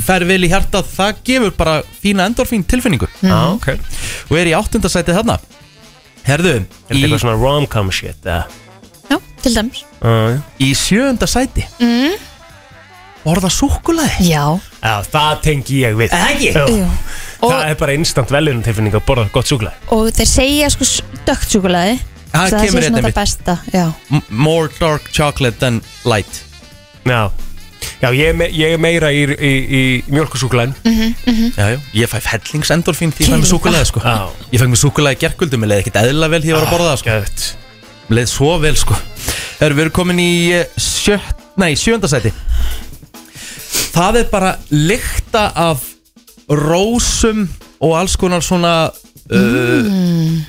fer vel í hjarta það gefur bara fína endorfín tilfinningu Mm. Já, ok Er og er í áttundasæti þarna Herðu, þetta í, eitthvað svona rom-com shit, eða? Já, til dæmis Uh, í sjöundasæti mm. Mhm. Borða súkkulaði Já, já, það tengi ég við ekki? Já. jú Og, Það er bara instant velunum tilfinning að borða gott súklaði og þeir segja sko dögt súkulaði Það Það kemur sé svona hérna það mitt. besta Já, M- More dark chocolate than light Já, já ég, er me, ég er meira í, í, í mjölkusúklaðin Já, já, ég fæ hellingsendorfín því ég fæ Kemur mér súkkulaði sko Já. Ég fæ mér súkkulaði gerkvöldum, ég leði ekkert eðla vel því ég var að borða það sko Gæðt Mér leið svo vel sko Erum við erum komin í eh, sjött, nei, sjöndasæti Það er bara lykta af rósum og alls konar svona uh,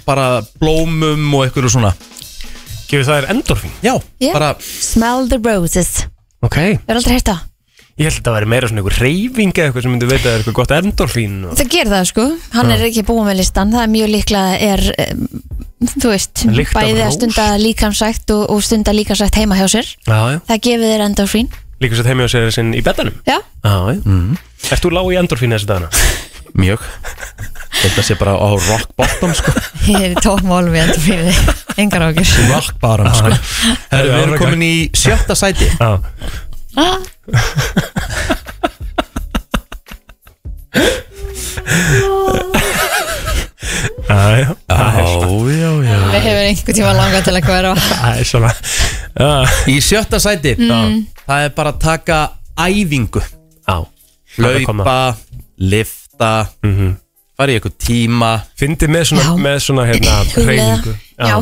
bara blómum og einhverju svona Gefur það er endorfín Já, Yeah. bara smell the roses Ok Ég Við erum aldrei hérta held að það væri meira svona einhver reyfing eða eitthvað sem myndi veita þér eitthvað gott endorfín og... Það gerir það sko, hann er ekki búið með listan Það er mjög líklega er um, Þú veist, Lykt af bæði að rós. stunda líkamsækt og, og stunda líkamsækt heima hjá sér Já, já Það gefið þér endorfín Líka svo þeim ég á sér sinn í betanum Já, Já, já mm. Erst þú lág í endorfín þessu dagana? mjög Þetta sé bara á rock bottom sko ég er í tókmálum í endorfín Engar ákjör Rock bottom sko Erum við erum komin í sjötta sæti Já Ah. Já, já já, já Við hefur einhver tíma langa til að hverfa Það er svona Já, Í sjötta sæti Mm. Það er bara að taka æfingu já Þarna kom það. Laupa, lifta Fara í eitthvað tíma Fyndi með Já. svona, með svona hérna, [clears throat] reyningu Já,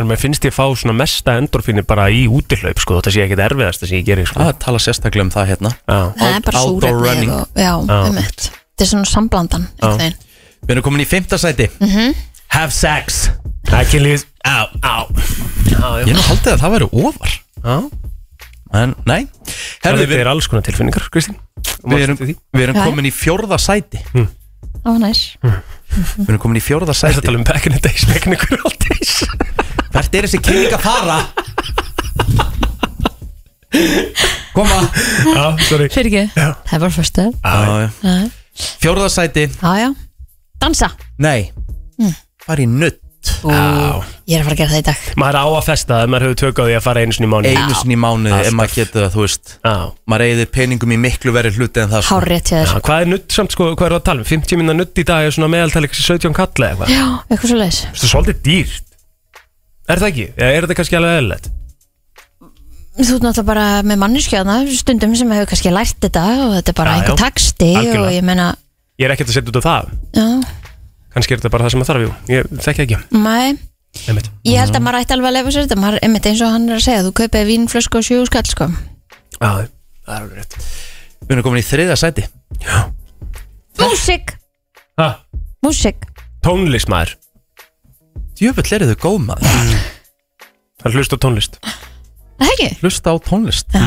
En mér finnst ég fá svona mesta endorfínu bara í útihlaup sko, þetta sé ekkit erfiðast sem ég gerir sko. Það tala sérstaklega um það hérna Já, það er bara Out- outdoor súrefni running. og, Já, Ah, umhett Þetta er svona samblandan einhvern veginn. Við erum komin í fymta sæti Have sex ekki líf Á, á Ég er nú haldið að það væri ofar Já, En nei það Herðu, er við, alls konar tilfinningar, Kristín Þú við manst erum, eftir því. við erum Já, já. komin í fjórða sæti Það var næs Við erum komin í fjórða Það er að sæti tala um back in the days, back in the good old days Hvert er þessi kynning að fara? Koma Já, Ah. sorry Fyrir ekki, það er bara fyrstu Já, já. Fjórða sæti Já, já, dansa Nei Fara í nutt Ú, Ég er að fara að gera það í dag Maður á að festa það, maður hefur tök á því að fara einu sinni í mánu Einu sinni í mánuði ef Alltaf. maður getur það, þú veist Já, maður eigðir peningum í miklu verið hluti en það sko. Hárið til Já, þér hvað er nutt samt, sko, hvað er það að tala um? 50 minna nutt í dag er svona meðaltal eitthvað 17 kalla eða eitthvað Já, eitthvað svo leiðis Þetta er svolítið dýrt Er það ekki? Eða er þetta kannski alveg eðlilegt? Þú ert náttúrulega bara með manneskjöðna stundum sem hefur kannski lært þetta og þetta er bara Já, einhver já. taksti og Algjörlega. ég meina, Ég er ekkert að setja út á það já, Kannski er þetta bara það sem maður þarf, jú Ég þekki ekki mæ Einmitt. Ég held að maður ætti alveg að lefa sér þetta maður, einmitt eins og hann er að segja, þú kaupið vínflösku og sjú skall sko. Já, það er alveg rétt við erum komin í þriða sæti Músik, ha, músik Tónlist maður, djöfull eru þau góð maður það hlust á tónlist Það er ekki? hlusta á tónlist Já,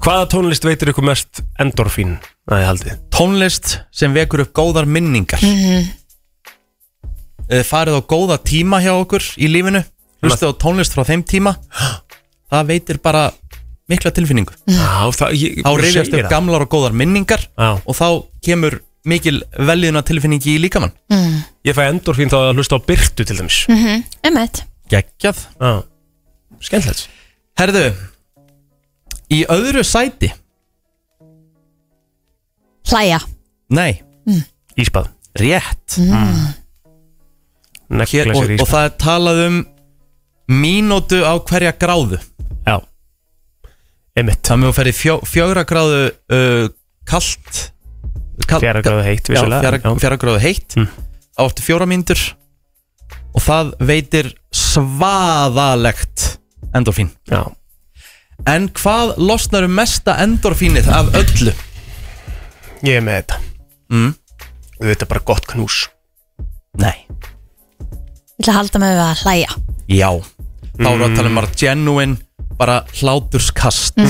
Hvaða tónlist veitir ykkur mest endorfín? Það er haldið tónlist sem vekur upp góðar minningar mm farið á góða tíma hjá okkur í lífinu hlusta á tónlist frá þeim tíma það veitir bara mikla tilfinningu Já, það, ég, þá reyfjast upp gamm gamlar og góðar minningar Já. og þá kemur mikil veljiðna tilfinningi í líkamann Ég fæ endorfín þá að hlusta á byrtu til dæmis mm. einmitt geggjað Já, skemmtilegt herðu í öðru sæti Hlæja nei Ísbað, rétt nekla Hér, og, sér og ísbað það er talað um mínútu á hverja gráðu Já, einmitt þannig að þú ferði fjó, fjögra gráðu uh, kalt, kalt Fjara gráðu heitt, já, vissulega fjögra, fjögra gráðu heitt Mm. á áttu fjóra mínútur og það veitir svaðalegt endorfín já. en hvað losnar um mesta endorfínið af öllu Ég er með þetta Mm. Þetta er bara gott knús nei, Ég ætla að halda með að hlæja já þá eru að tala um bara genuine bara hláturskast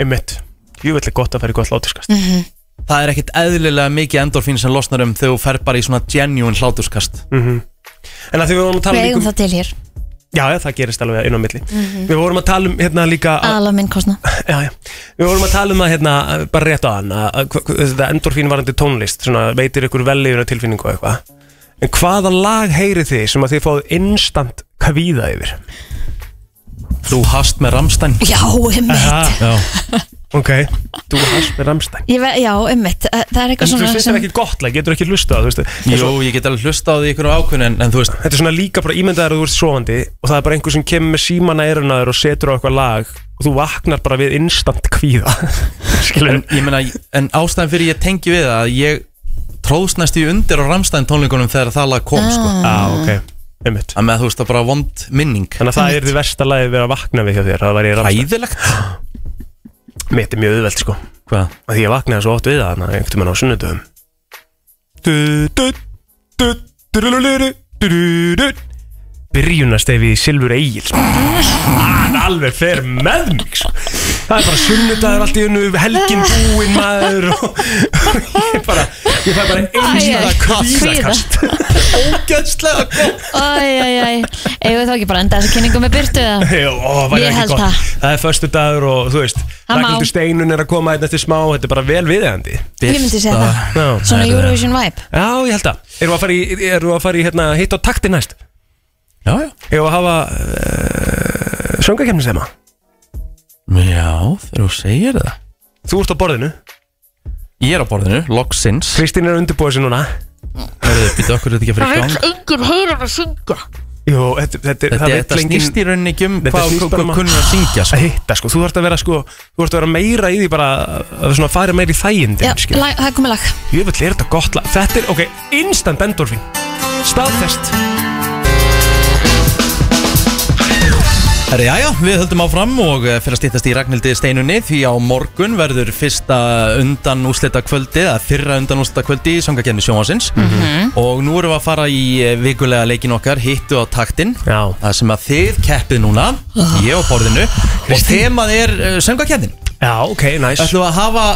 Einmitt, jú veldig gott að færi gott látiskast það er ekkit eðlilega mikið endorfín sem losnar um þegar þú fer bara í svona genuine hláturskast En að því við vorum að tala Við líka um eigum það til hér Já, já, það gerist alveg inn á milli Við vorum að tala um hérna Ah. líka að, Aðalega minn kostna já, já. Við vorum að tala um að hérna, bara rétt á hann að þetta endorfín varandi tónlist svona, veitir ykkur velliðuna tilfinningu og eitthvað En hvaða lag heyrið þið sem að þið fáið instant kvíða yfir? Þú hast með [laughs] Ramstein Já, ummitt Já, Ok, þú hans með Ramstein ve Já, ummitt Það er En eitthvað þú svona finnst það ekki gott lag, getur ekki hlusta það, þú veist Jú, ég get alveg hlusta á því ykkur á ákveðin en, en þú veist, Þetta er svona líka bara ímyndaður að þú ert sofandi og það er bara einhver sem kemur með síman að erunaður og setur á eitthvað lag og þú vaknar bara við instant kvíða [laughs] Skilur en, Ah. ég meina, en ástæðan fyrir ég tengi við það að ég tróðst næstu í undir á Ramstein tónlingunum þegar það lag kom, sko Ah. Já, Ah, ok, einmitt að með þú veist, það er bara vond minning Þannig að það er því versta lagið við að vakna við hjá þér Það var ég ramst Æðilegt Mitt er mjög auðvelt sko Hvað? Af Því ég vaknaði svo oft við það Þannig að einhvern veginn á sunnudöfum Du, du, du, drululuru, druru. Byrjunarstefið í Silfur Egil sko. Hann alveg fer með mig sko. Það er bara sunnudagur allt í unnu Helgin búinn maður og, Ég bara Ég fæ bara einstæða kvíðakast [laughs] Ógæðslega gott Æjæjæj Eigum við þá ekki bara enda þessa kynningu með byrtu eða? Jó, ó, var Ég ekki held gott. það. Það er föstu dagur og þú veist Það má. Ragnhildur Steinun er að koma einn eftir smá Þetta er bara vel viðeigandi Ég myndi segja það Já. Svona Eurovision vibe Já, ég held að Erum við að fara í, erum við að fara í hérna, hitt á takti næst? Já, já Erum við að hafa uh, söngakefni sem að? Já, þegar þú segir það Þú ert á borðinu Ég er á borðinu, loksins Kristín er að undirbúa sig núna Hörðu, býta okkur er þetta ekki að fyrir gang Jú, þetta, þetta, Þetta, það vill þetta enginn- snýst í rauninni ekki um Þetta hvað snýst bara um hún að- kunni að syngja [laughs] sko. að hitta sko, þú ert að vera sko þú ert að vera meira í því bara að svona fara meira í Já, þægindin skilur. lag- það er komið lag Jöfull er þetta gott lag Þetta er, ok, instant endorfin Staðfest Herri, jæja, við höldum áfram og eh, fyrir að stýttast í Ragnhildi Steinunni því á morgun verður fyrsta undan úslita kvöldi eða fyrra undan úslita kvöldi í sangakenni sjónvansins og nú erum við að fara í eh, vikulega leikin okkar hittu á taktin Já. það sem að þið keppið núna ég á borðinu og þemað er sangakennin Já, ok, næs ætlum við að hafa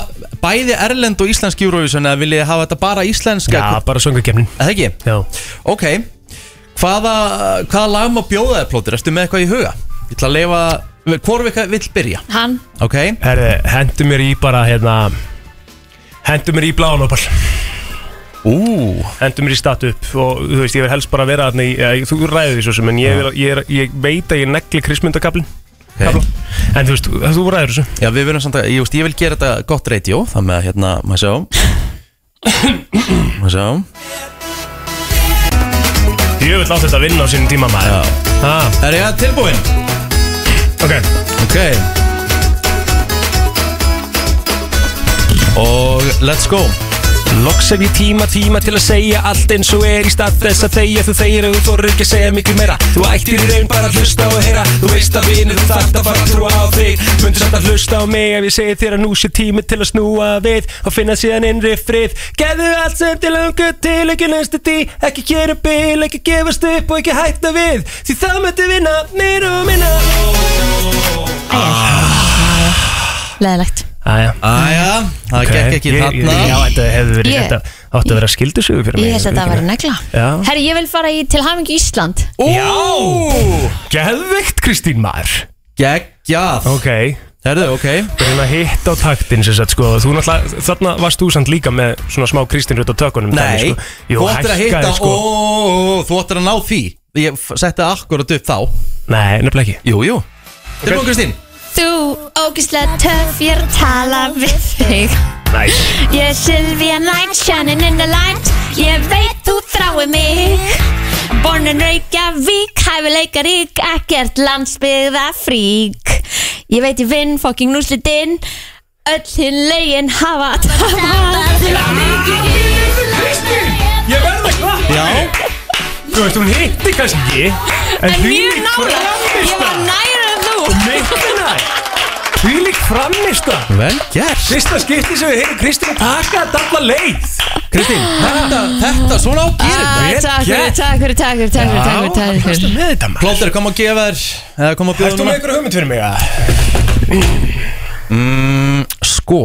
bæði erlend og íslensk Eurovision eða viljið þið hafa þetta bara íslenska Já, bara söngakefnin Er það ekki? Já, Ok, hvaða, hvaða lag má bjóða þér plótur? Erstu með eitthvað í huga? Ég ætla að leifa, hvorf eitthvað vill byrja? Hann Ok, herri, hendur mér í bara hérna Hendur mér í bláanopal ú, Hendur mér í statu upp Og þú veist, ég vil helst bara vera þarna í ja, Þú ræður því svo sem, en ég, vil, ég, er, ég veit að ég negli krismyndakablin okay. En þú veist, þú ræður þessu Já, við verðum samt að, ég, veist, ég vil gera þetta gott radio Þannig að hérna, maður sjá Maður sjá Ég vil láta þetta vinna á sínum tíma maður ah, Er ég að tilbúin? Ok, Ok Og let's go Loks hef ég tíma, tíma til að segja allt eins og er í stað þess að þegja Þú þegir og þú þorir ekki að segja miklu meira Þú ættir í raun bara að hlusta og heyra Þú veist að vinur þú þarft að fara að trúa á þig Mundur samt að hlusta á mig ef ég segi þér að nú sé tími til að snúa við Og finna síðan innri frið Gerðu allt sem til langu til, ekki næstu því Ekki gera bil, ekki gefast upp og ekki hætta við Því það möttu vinna, mér og minna Leðilegt Æja Æja, það gekk ekki þarna þetta hefði verið Ég- þetta átti að vera skildisögu fyrir Ég held að þetta var negla Já. Herri, ég vil fara í til hamingi Ísland Já, geðveikt Kristín Mar Geggjað Ok, Herðu, ok byrjum að hitta á taktin sem sagt sko Þú náttúrulega, þarna varst þú samt líka með svona smá Kristín út á tökunum Nei, dæmi, sko. Jú, þú ættir að hitta hækkaði, sko. Ó, þú ættir að ná því Ég f- setti akkurat upp þá Nei, nefnilega ekki Jú, jú Tilbúin Kristín Þú, ógislega töff, ég er að tala við þig Næs Ég er Sylvia Knight, shining in the light Ég veit þú þráir mig Born in Reykjavík, hæfileikarík, ekkert landsbyggða frík Ég veit ég vinn, fucking núslitinn Öll hinn legin hafa tapað Ég verð að klappa Já, Þú veist, hún hitti kannski ekki En Mjög nála, ég var næra en þú Mikið nær Því lík framista vel gert Fyrsta skipti sem við hefum Kristín taka þetta alla leið Kristín, þetta, þetta, svona á gerir Ah, þetta vel Takk fyrir, takk fyrir, gert. takk fyrir, takk fyrir, takk fyrir, takk fyrir Varstu með þetta maður Plóter, kom að gefa þér Eða kom að bjóða Ertu með núna einhverja hugmynd fyrir mig að Sko,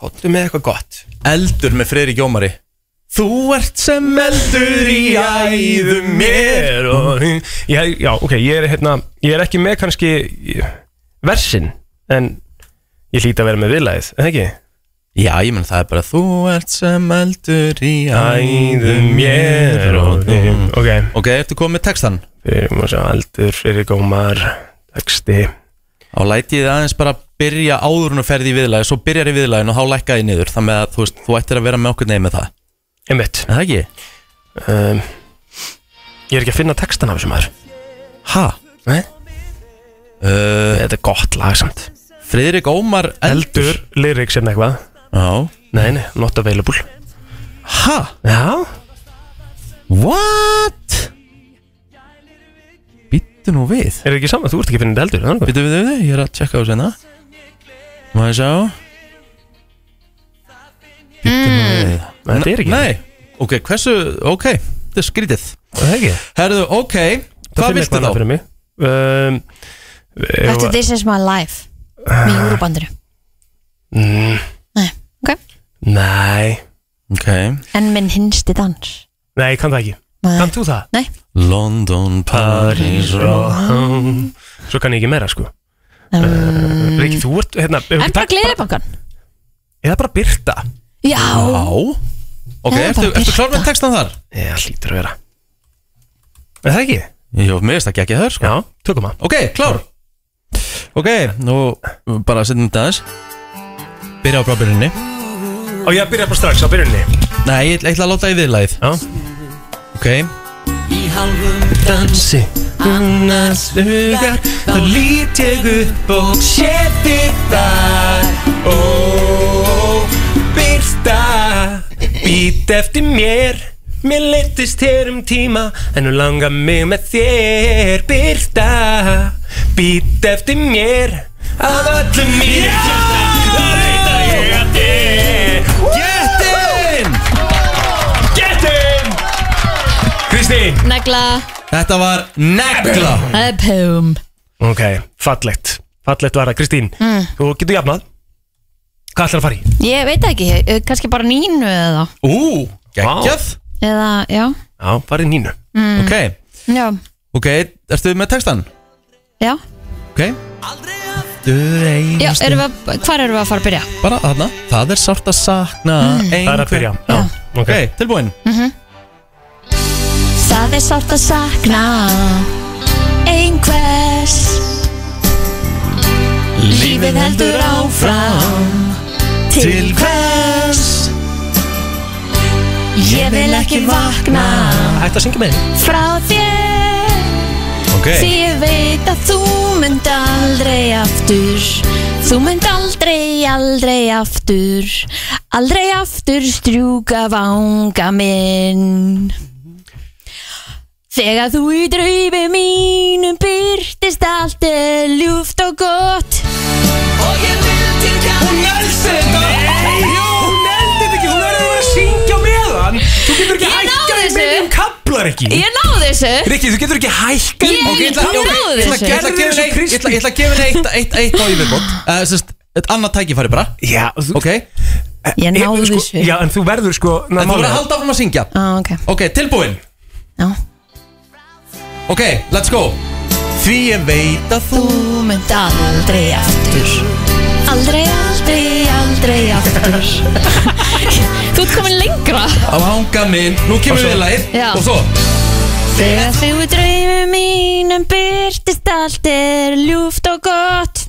Kottu með eitthvað gott eldur með Freyri Gjómari Þú ert sem eldur í æðum mér er og, ég, Já, ok, ég er, hérna, ég er ekki með kannski ég- versin En ég hlýt að vera með viðlæð, eða ekki? Já, ég menn það er bara Þú ert sem eldur í æðum Æðum mér mér og þig Ok, Ok, ertu komið með textan? fyrir maður sem aldur, fyrir gómar, texti Þá læti ég þið aðeins bara byrja áður en þú ferði í viðlæði Svo byrjar í viðlæðin og þá lækka ég niður Þannig að þú, veist, þú ættir að vera með okkur neyð með það Einmitt Er það ekki? um, Ég er ekki að finna textan af þessu maður Ha? Nei. Uh, Þetta er gott lag samt Friðrik Ómar Eldur, Eldur, lyrics sem eitthvað Já Nei, nei, not available Ha? Já, What? Býttu nú við er ekki saman, þú ert ekki að finna þetta eldur er það nokkuð? Býttu við við, ég er að tjekka á þessu hérna Má ég sjá Býttu nú við Nei, Þetta er ekki Hmm. Nei, ok, hversu, ok Þetta er skrítið Það er ekki Herðu, ok, hvað viltu þá? Fyrir mig um, Þetta Þetta er This is my life Með júrubandinu mm, Nei, ok Nei Ok En minn hinsti dans Nei, ég kann það ekki Nei. Kann þú það? Nei, London, Paris, Rome Róm Svo kann ég ekki meira sko um, Riki, þú ert hérna hefur En ekki bara takt- gleðibankan Eða bara Birta Já, Já Ok, Það er ertu, bara ertu klár birta. með textan þar? Já, hlýtur að vera Er það ekki? Jó, mér veist ekki ekki þar, sko Já, tökum að Ok, klár Ok, nú bara setjum þetta aðeins Byrja á brábyrjunni Og ég byrja bara strax á byrjunni Nei, ég ætla- ég ætla að láta í viðlæð Já Ok dansi annars hugar þá lít ég upp og sé þig þar ó, byrta být eftir mér mér leittist hér um tíma en nú langar mig með þér byrta být eftir mér af öllum mér þá veit að ég að þér Gettin! Getum! Kristi negla Þetta var negla Pum Ok, fallegt Fallegt var það, Kristín Mm. Þú getur jafnað Hvað ætlar að fara í? Ég veit það ekki, eh, kannski bara nínu eða Ú, geggjað Eða, já, Já, fara í nínu Ok, já, ok, ertu með textan? já Ok Aftur einu Já, erum við, að- hvar erum við að fara að byrja? Bara þarna Það er sárt að sakna Mm. einhver Það er að byrja Já, ok Ok, tilbúin Það er sárt að sakna einhvers Lífið heldur áfram Til hvers Ég vil ekki vakna Hættu að syngja með þig frá þér Ok, Því ég veit að þú mynd aldrei aftur Þú mynd aldrei, aldrei aftur Aldrei aftur strjúka vanga minn Þegar þú í draumi mínum byrtist allt er ljúft og gott Hún elst þetta Nei, jú, hún elst þetta ekki Hún verður að syngja með hann Þú getur ekki Ég hækkað náði í þessu. miðjum kaplar ekki Ég náðu þessu Rikki, þú getur ekki hækkað í Ég- miðjum- ég ætla- Þú ok, náðir ég ætla- þessu. ég ætla að gefa henni eitt- ég ætla- ég ætla að gefa henni eitt- eitt eitt á yfirbót Eh, sem sagt, Eitt annað tækifæri bara Já, þú Ok, Ég Ég- náðu sko, þessu Já, en þú verður sko ná, En þú verður málega. að halda áfram að syngja Á, ok Ok, tilbúin Já. Ok, let's go Því ég veit að þú Þú mynd aldrei aftur Aldrei, aldrei, aldrei aftur Þú ert komin lengra á hanga minn Nú kemur svo- við lagið Já. Og svo Þegar þú í draumi mínum byrtist allt er ljúft og gott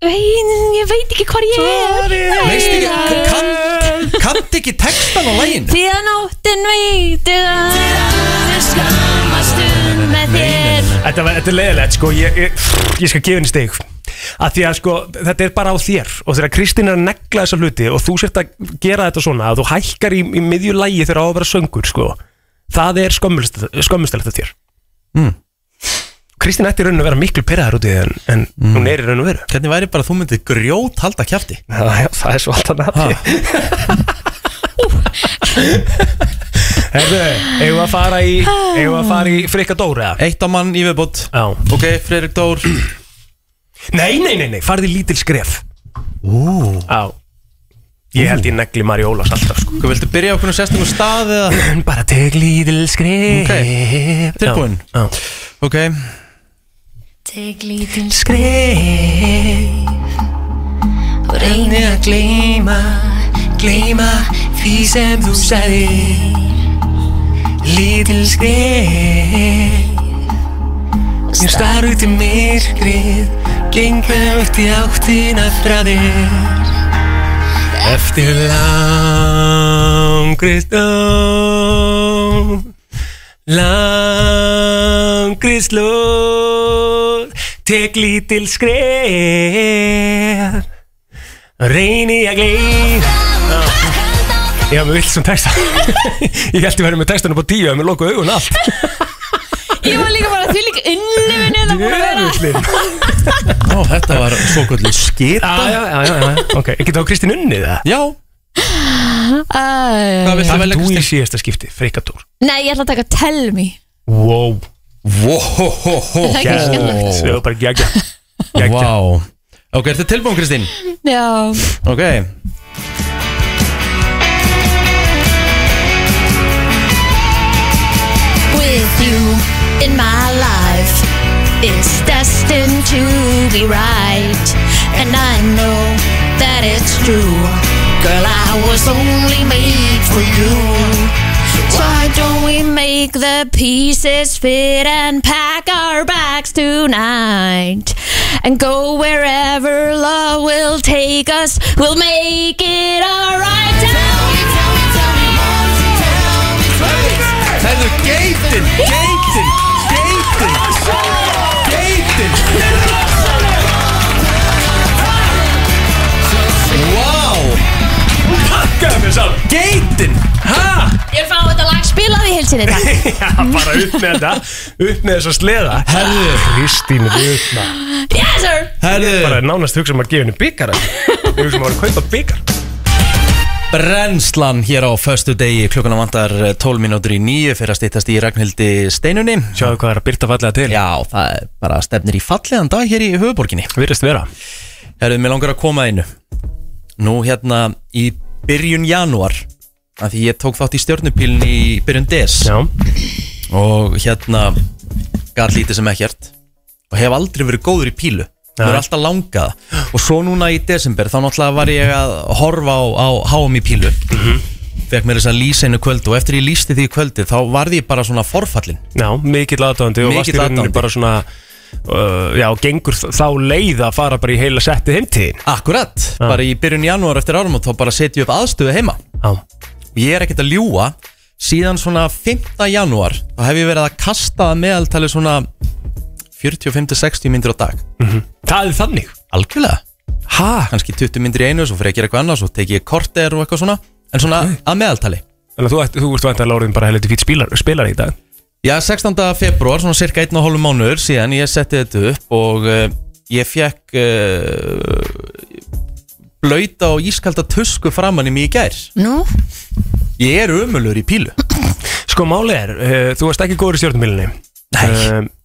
Veginn, ég veit ekki hvar ég er Veist ekki, kann, kannt ekki textan á lagin Því að nóttin veitir að Þegar skammast um með þér Þetta, var, þetta er leiðilegt sko Ég, ég, ég skal gefa henni stig að því að sko þetta er bara á þér og þegar Kristín er að negla þessa hluti og þú sért að gera þetta svona að þú hækkar í, í miðju lægi þegar á að vera söngur sko það er skömmustælegt af þér mm. Kristín ætti í raun að vera miklu pyrraðar út í þér en, en hún er í raun að vera Hvernig væri bara að þú myndir grjót halda kjafti Já, já, það er svo allt annað atriði. [laughs] Herðu, eigum við að fara í eigum við að fara í frikka dóra Eitt á mann í viðbót Já. Ok, Freirik Dór Nei, nei, nei, nei, farði lítil skref Ú Já Ég held ég negli Mari Ólas alltaf sko. Hvað viltu byrja okkur um sérstum stað eða? Bara teg lítil skrif okay. Tilbúin. Já, já. Ok, Tek lítil skrif Og reyni að gleyma Gleyma því sem þú sagðir Lítil skrif Ég star út í myrkrið Genga út í áttina frá þér Eftir langri stund Langri slóð Tek lítil skref Reyni að gleif Ég hafði vilt sem texta [laughs] Ég held ég verið með textan upp á tíu Það er mér lokuð augun allt Ég var líka bara því líka innlifinu hérna, Það búið að vera Djöfullinn. Ó, þetta var svo kvöldu skita Já, já, já, já, já Ok, ekki þá Kristín unnið það Já, Æ. hvað viltu Það velja er þú í Kristi? síðasta skipti, freykatúr Nei, ég ætla að taka tell me Wow, Vóhóhóhó [laughs] Það er ekki skemmtilegt. það var bara gegja Gegja Vá Ok, ertu tilbúin Kristín? Já, Ok With you in my life is destined to be right. And I know that it's true. Girl, I was only made for you. Why don't we make the pieces fit and pack our bags tonight? And go wherever love will take us. We'll make it alright. Tell me, tell me, tell me more. Tell me, tell me. Herðu, geitin, geitin, geitin Geitin Vá Gæða mér saman Geitin, hæ? Ég fá þetta lag spilað í heilsinni þetta [laughs] [laughs] Já, bara upp með þetta Upp með þessa sleða Herðu. Kristín Rutna Yes sir Bara Herðu, nánast hugsa um að gefa henni byggar Hugsa um að vera að kaupa byggar Brennslan hér á föstu degi klukkana vantar eh, 12 mínútur í nýju fyrir að stýttast í Ragnhildi steinunni Sjáðu hvað er að byrta fallega til Já, það er bara stefnir í fallegan dag hér í höfuborginni Virðist vera Herðu, mér langar að koma að einu Nú hérna í byrjun janúar af því ég tók þátt í stjórnupílinn í byrjun des Já, og hérna gæt lítið sem ekkert og hef aldrei verið góður í pílu það er Nei. alltaf langað og svo núna í desember þá náttúrulega var ég að horfa á, á háum í pílu mm fekk mér þess að lýsa einu kvöldu og eftir ég lýsti því í kvöldi þá varði ég bara svona forfallin já, mikill aðdóðandi og Mikill varst í rauninni aðdáandi. bara svona uh, Já, gengur þ- þá leið að fara bara í heila setti heimtíðin akkurat, bara í byrjun janúar eftir árum og þá bara setjum ég upp aðstöðu heima Já, og ég er ekkert að ljúa síðan svona 5. janúar þá hef ég verið að kasta að meðaltali svona 45-60 myndir á dag það er þannig algjörlega Ha? kannski 20 myndir í einu, svo fyrir ég að gera eitthvað annað, svo teki ég korter og eitthvað svona, en svona að meðaltali. Þannig að þú, ert- þú ert vantanlega orðin bara helviti fýtt spilar, spilar í dag Já, 16. februar, svona cirka 1,5 mánuður síðan ég setti þetta upp og uh, ég fekk uh, blöyta og ískalda tusku framann í mig í gær. nú Ég er ömulur í pílu. Sko málið er, uh, þú varst ekki góður í stjórnumílinni Nei. Mhm. uh,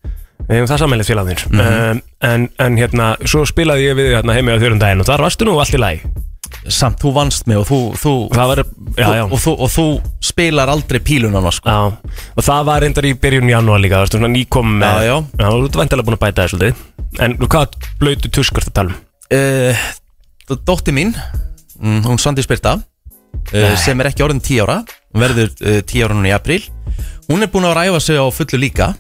Við hefum það samanlega félagarnir mm en, en hérna, svo spilaði ég við þig hérna heimi á þjórnum daginn og þar varstu nú allt í lagi Samt, þú vannst mig og þú, þú, Það var, já, já, Og, þú og þú spilar aldrei pílunana, sko. já Og það var reyndar í byrjun janúar líka, það var svona nýkom með Já, já. Já, þú ert vantilega búin að bæta það svolítið En hvað blöytu tuskar það tala um? Uh, Dótti mín, mm, hún Sandi Spyrta uh, sem er ekki orðin 10 ára hún verður uh, 10 ára núna í apríl hún er búin að ræfa sig á fullu líka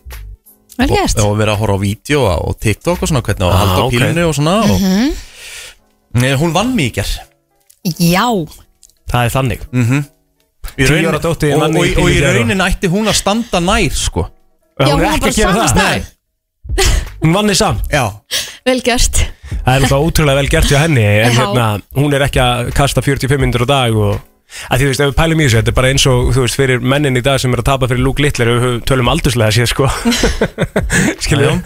Vel gert og vera að horfa á vídeo og TikTok og svona hvernig og Ah, halda á ok. Mhm. pílunni og svona og, mm hún vann mig í ger Já, Það er þannig Mm. Í 10 ára dóttir þín og, og, vann mig og, í pílu í í gær og- raunin ætti hún að standa nær sko já Hún hún er var ekki bara að gera samast það þær Hún vann þig samt já, Vel gert Það er náttúrulega ótrúlega vel gert hjá henni En Já. hérna, hún er ekki að kasta 45 minnur á dag og að því þú veist, ef við pælum í þessu, þetta er bara eins og þú veist, fyrir mennin í dag sem er að tapa fyrir Luke Littler ef við tölum aldurslega sér, [laughs] sko skiljum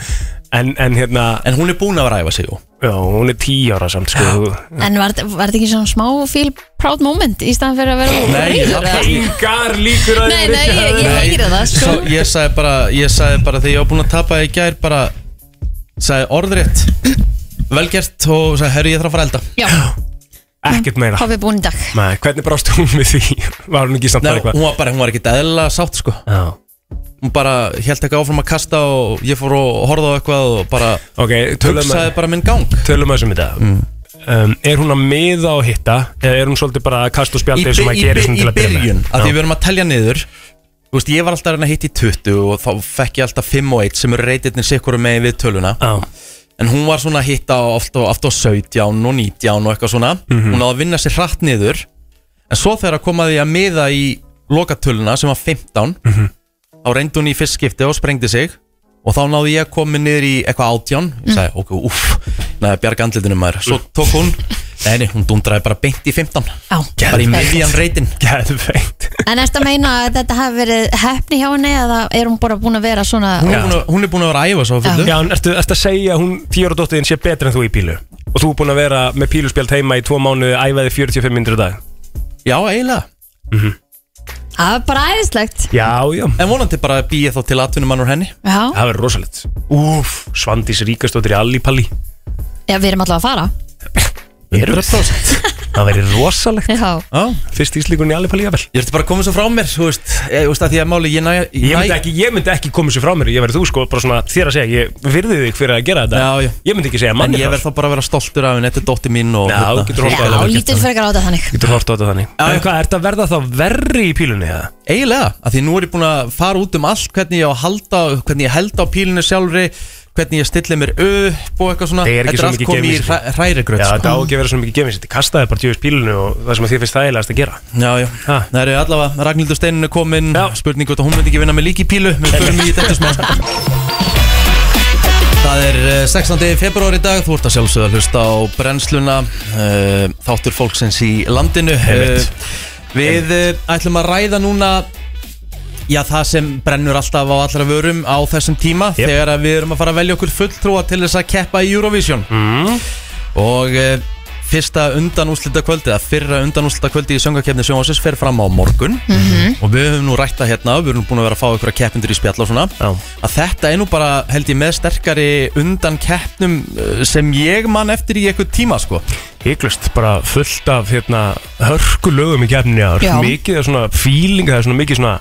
en, en hérna, en hún er búin að ræfa sig jú. já, hún er 10 ára samt, sko þú- En var var þetta ekki svona smá fíl proud moment í staðan fyrir að vera Nei, reiður, ég- eða? Engar líkur að Nei, nei, ég, ég heyrði það sko. Svo ég sagði bara, ég sagði bara þegar ég var búin að tapa í gær bara [gasps] sagði orðrétt velgert og sagði herru ég þarf að fara að elda Já, Ekkert meira Hvað við búin í dag Nei, hvernig brást hún við því? Var hún ekki samt Nei, bara eitthvað? hún var bara, hún var ekki eðla sátt sko Já Hún bara held ekki áfram að kasta og ég fór og horfði á eitthvað og bara Ok, tölum að hugsaði bara Mm. minn gang Tölum að þessum í dag um, Er hún að miða og hitta? Eða er hún svolítið bara að kasta og í, spjaldi by- sem að í, gera by- svona í til að byrja byrjun, af því með? við erum að telja niður Þú veist, ég var alltaf að reyna að hitta í 20 og þá fekk ég alltaf 5 og 1 sem eru reytirnir sikkurum með við töluna Já, En hún var svona að hitta oft á, oft á 17 og 19 og eitthvað svona Hún áði að vinna sér hratt niður En svo þegar að koma því að miða í lokatöluna sem var 15 Þá reyndi hún í fyrst skipti og sprengdi sig Og þá náði ég að koma niður í eitthvað átján Ég sagði, ok, uff, næði að bjarga andlitinu maður Svo tók hún, nei, nei, hún dundraði bara beint í 15 Já. Bara í miðjan reytin geðveikt En ertu að meina að þetta hafi verið hefni hjá henni eða er hún bara búin að vera svona hún, er búin að- hún er búin að vera að æfa svo að fullu Já, en ertu, ertu að segja að hún fjóra dóttiðin sé betur en þú í pílu? Og þú er búin að vera með píluspjald heima í tvo mánuði æfaði 45 minnir á dag Já, eiginlega Það er bara æðislegt Já, já En vonandi bara býja þá til atvinnumann úr henni Já, Það verður rosalegt Úf, Svandís Ríkastóttir í Allipalli já við erum alltaf að fara 100% [laughs] Það verður rosalegt Já, Já, Fyrst íslíkun í Allipalli, jafnvel Ég ætti bara að koma svo frá mér, þú veist, ég, þú veist að því að máli ég næ... Ég myndi ekki, ég myndi ekki koma sér frá mér Ég verði þú sko, bara svona þér að segja Ég virði þig fyrir að gera þetta Já, já. Ég myndi ekki segja En manni ég verð þá bara að vera stoltur af henni, þetta er dótti mín og... hérna. Já, þú já, getur horft á þetta þannig. lítið frekar á þetta þannig Getur horft á þetta þannig Já, En já. hvað, ert að verða þá verri í pílunni eða? Eiginlega, af því nú er ég búin að fara út um allt, hvernig ég á að halda, hvernig ég held á pílinu sjálfri, hvernig ég stilli mér upp og eitthvað svona... Það er ekki Þetta svo allt mikið komið í geimvísindi. hræ- Já, hrærigraut, þetta sko. á ekki að vera svona mikið gefins Þetta kastaði bara djöfis pílunni og það sem að þið finnst þægilegast að gera Já, já, Ha. það eru allavega, Ragnhildur Steinin er komin, Já. spurning hvort að hún myndi ekki vinna með líki pílu, við förum í þetta smá. [laughs] Það er eh, 16. februar í dag, þú ert að sjálfsögða að hlusta á brennsluna, uh, þáttur fólksins í landinu. Einmitt. Eh, við uh, ætlum að ræða núna, já það sem brennur alltaf á allra vörum á þessum tíma, Jep. þegar að við erum að fara að velja okkur fulltrúa til þess að keppa í Eurovision. Og uh, fyrsta undanúslita kvöldi, eða fyrra undanúslita kvöldi í söngakefni sjónvarsins fer fram á morgun og við höfum nú rætta hérna, við erum búin að vera að fá ykkur að keppindur í spjall og svona Já. að þetta er nú bara held ég með sterkari undan keppnum uh, sem ég man eftir í eitthvað tíma sko Hygglust, bara fullt af hérna, hörku lögum í kefninni ár Já. Mikið er svona feeling, það er svona mikið svona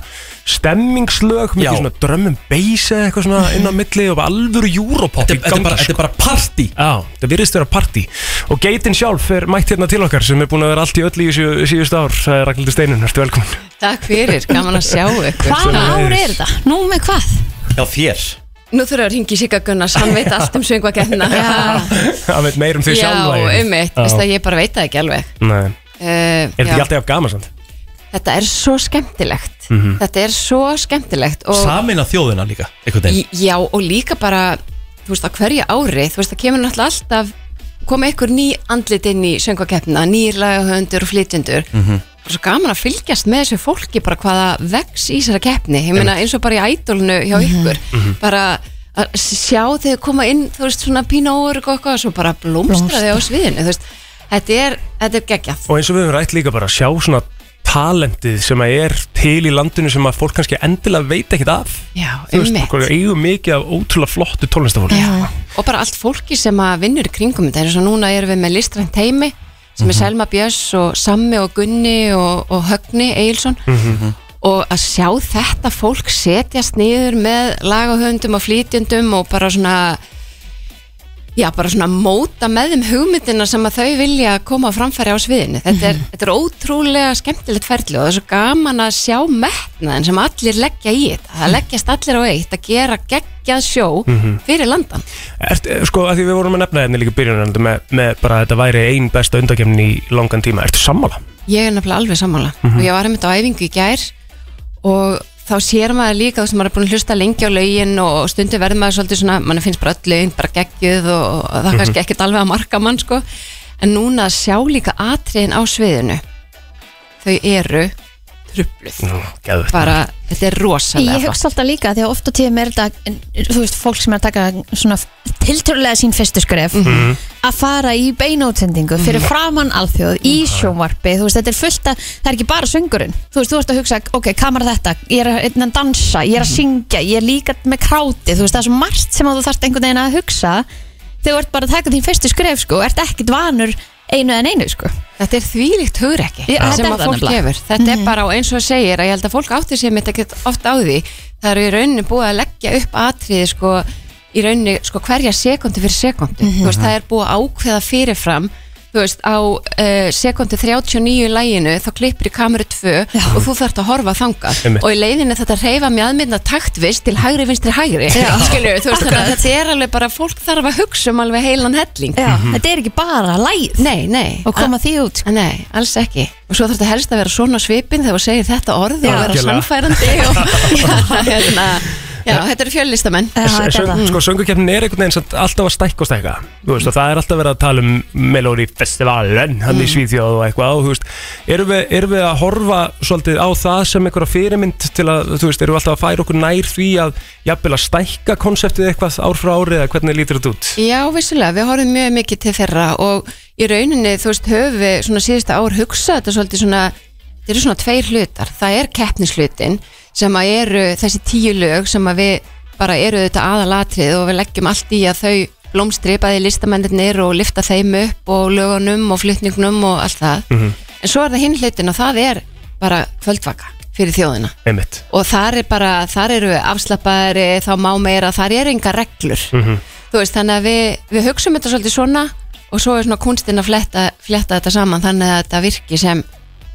stemmingslög Mikið Já. svona drömmum beis eða eitthvað svona inn á milli Og bara alvöru júropop Þetta er- þetta er bara, sko. þetta er bara party Já, það virðist vera partí Og geitin sjálf er mætt hérna til okkar sem er búin að vera allt í öll í síðu, síðust ár Það er Ragnhildur Steinun, ertu velkomin [laughs] Takk fyrir, gaman að sjá ykkur Hvaða ár er þetta? Nú með hvað? Já þér Nú þurfum við að ringi Sigga Gunnars, hann veit allt um söngvakeppnina Það veit meir um því Já, sjálfa eiginlega. einmitt, Já. veist að ég bara veit það ekki alveg Nei, uh, er þetta ekki alltaf gaman samt? Þetta er svo skemmtilegt Mhm. Þetta er svo skemmtilegt og, Samin að þjóðina líka einhvern veginn Í- Já, og líka bara, þú veist, á hverju ári Þú veist, það kemur náttúrulega alltaf koma einhver ný andlit inn í söngvakeppnina nýr lagahöndur og flytjendur og svo gaman að fylgjast með þessu fólki bara hvaða vex í þessara keppni ég meina eins og bara í ædolnu hjá ykkur bara að sjá þegar koma inn þú veist svona pína óur og eitthvað og svo bara blómstra þau á sviðinu þú veist, þetta er, þetta er geggjað Og eins og við höfum rætt líka bara að sjá svona talentið sem að er til í landinu sem að fólk kannski endilega veit ekkit af Já, Þú veist, einmitt. okkur eigum mikið af ótrúlega flottu tólnistafólki Já. og bara allt fólki sem að vinnur í kringum þetta eins og núna erum við með listrænt heimi sem er Selma Björns og Sammi og Gunni og, og Högni Eilsson og að sjá þetta fólk setjast niður með lagahöndum og flýtjendum og bara svona já, bara svona móta með þeim hugmyndina sem að þau vilja koma á framfæri á sviðinu þetta er, þetta er ótrúlega skemmtilegt ferli og það er svo gaman að sjá metnaðin sem allir leggja í þetta það leggjast allir á eitt að gera geggjað sjó fyrir landan Ert, eh, sko, að því við vorum að nefna þetta líka byrjunaröndu með, með bara að þetta væri ein besta undakefnin í langan tíma Ertu sammála? Ég er nefnilega alveg sammála og ég var einmitt á æfingu í gær og þá sér maður líka þú sem maður er búin að hlusta lengi á lögin og stundu verður maður svolítið svona, mann finnst bara öll lögin bara geggjuð og, og það kannski ekkert alveg að marka mann sko, en núna að sjá líka atriðin á sviðinu þau eru trubluð, Geðvægt bara þetta er rosalega Ég flott. hugsa alltaf líka því að oft og tíðum er þetta þú veist, fólk sem er að taka svona tiltölulega sín fyrstu skref Mhm. að fara í beinótsendingu fyrir framann alþjóð í Mhm. sjónvarpi þú veist, þetta er fullt að, það er ekki bara söngurinn þú veist, þú ert að hugsa, ok, kamera þetta ég er að einnig að Mhm. dansa, ég er að syngja ég er líka með kráti, þú veist, það er svo margt sem að þú þarft einhvern veginn að hugsa þegar þú ert bara að taka þín fyrstu skref sko, og ert ekkit vanur einu en einu sko. Þetta er þvílíkt hugrekki Já, þetta sem er að það fólk nefnilega. Mhm. hefur. Þetta er bara, og eins og það segir, að ég held að fólk átti sér mitt ekkert oft á því. Það eru í rauninni búið að leggja upp atriði sko, í rauninni sko, hverja sekundi fyrir sekundi. Þú Mhm. veist, það er búið að ákveða fyrirfram þú veist, á uh, sekundi 39 í læginu, þá klippir í kameru 2 og þú þarft að horfa þangað Einmitt. og í leiðinu þetta reyfa mjög aðmynda taktvist til hægri vinstri hægri skilur, þú veist, þannig að þetta er alveg bara fólk þarf að hugsa um alveg heilan helling Já, Þetta er ekki bara læð Mhm. nei, nei, og koma því út sko. Nei, alls ekki. Og svo þarf þetta helst að vera svona svipin þegar þú segir þetta orð og vera Algjörlega. sannfærandi og já, hérna, já, þetta eru fjöllistamenn. Já, þetta er Söng, það. sko, söngukeppnin er einhvern veginn samt alltaf að stækka og stækka Þú veist, og það er alltaf verið að tala um Melody Festivalen, hann Mm. í Svíþjóð og eitthvað og þú veist, erum við, erum við að horfa svolítið á það sem einhverja fyrirmynd til að, þú veist, erum við alltaf að færa okkur nær því að jafnvel að stækka konseptið eitthvað ár frá ári eða hvernig lítur þetta út Já, vissulega, við horfum mjög mikið til þeirra og í rauninni, þú veist, höfum við svona síðasta ár hugsað þetta svolítið svona, þetta eru svona tveir hlutar. Það er keppnislutin sem að eru þessi tíu lög sem að við bara eru þetta aðalatrið og við leggjum allt í að þau blómstri bæði listamennir og lifta þeim upp og lögunum og flutningnum og allt það. En svo er það hinn hlutin og það er bara kvöldvaka fyrir þjóðina Einmitt, og þar er bara, þar eru afslappaðari þá má meira, þar eru enga reglur þú veist, þannig að við, við hugsum þetta svolítið svona og svo er svona kunstin að fletta, fletta þetta saman þannig að þetta virki sem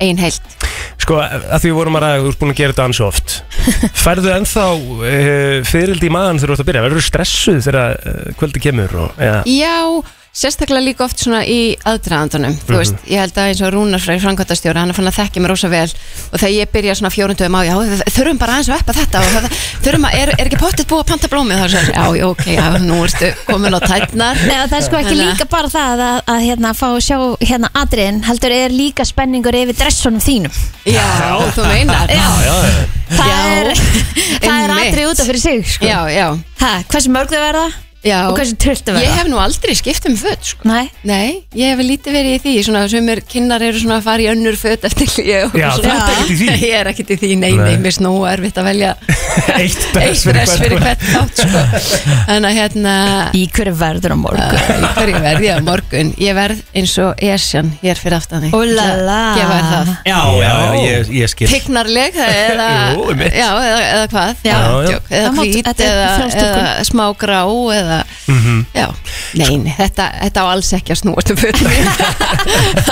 ein heilt sko, að því við vorum að ræða þú ert búin að gera þetta ansi oft [laughs] Færðu ennþá uh, fyririldi í maðan þegar þú ert að byrja, verður stressuð þegar uh, kvöldi kemur og, eða, Já, sérstaklega líka oft svona í aðdraðandunum, þú veist, ég held að eins og Rúnar Freyr framkvæmtastjóra, hann er fann að þekki mér rosa vel og þegar ég byrja svona fjórundu um á, já, við þurfum bara aðeins að eppa þetta og það, þurfum að, er, er ekki pottet búið að panta blómið þá sér, já, já, ok, já, nú ertu komin á tætnar. Nei, og það er sko ekki líka bara það að, að hérna, fá að sjá hérna atriðin heldur er líka spenningur yfir dressunum þínum Já, þú meinar. Já, já, það er, [laughs] það er Einmitt. atrið út af fyrir sig sko. já, já. ha, hversu mörg þau verða já. og hversu trullt þau Ég verða hef nú aldrei skipt um föt, sko. Nei, Nei, ég hef lítið verið í því, svona sumir kinnar eru svona að fara í önnur föt eftir [laughs] hljóð Já, þú ert ekkert í því. Ég er ekkert í því, nei, nei, Nei. mér snú erfitt að velja [laughs] Eitt eitt dress fyrir dress hvern. fyrir hvert þátt sko. [laughs] Þannig að hérna í hverju verður á morgun uh, í hverju verð ég á morgun ég verð eins og Esjan hér fyrir aftan þig. Úlala Gefa þér það. Já, já, já, ég, ég skil Tignarleg [laughs] eða, Jú, einmitt. já, eða, eða hvað Já. Já, já. Djók, eða Það má- hvít þetta er eða, frjáls túlkun. eða smá grá eða, Mhm. já, nein þetta, þetta á alls ekki að snúast um [laughs] fötum mín.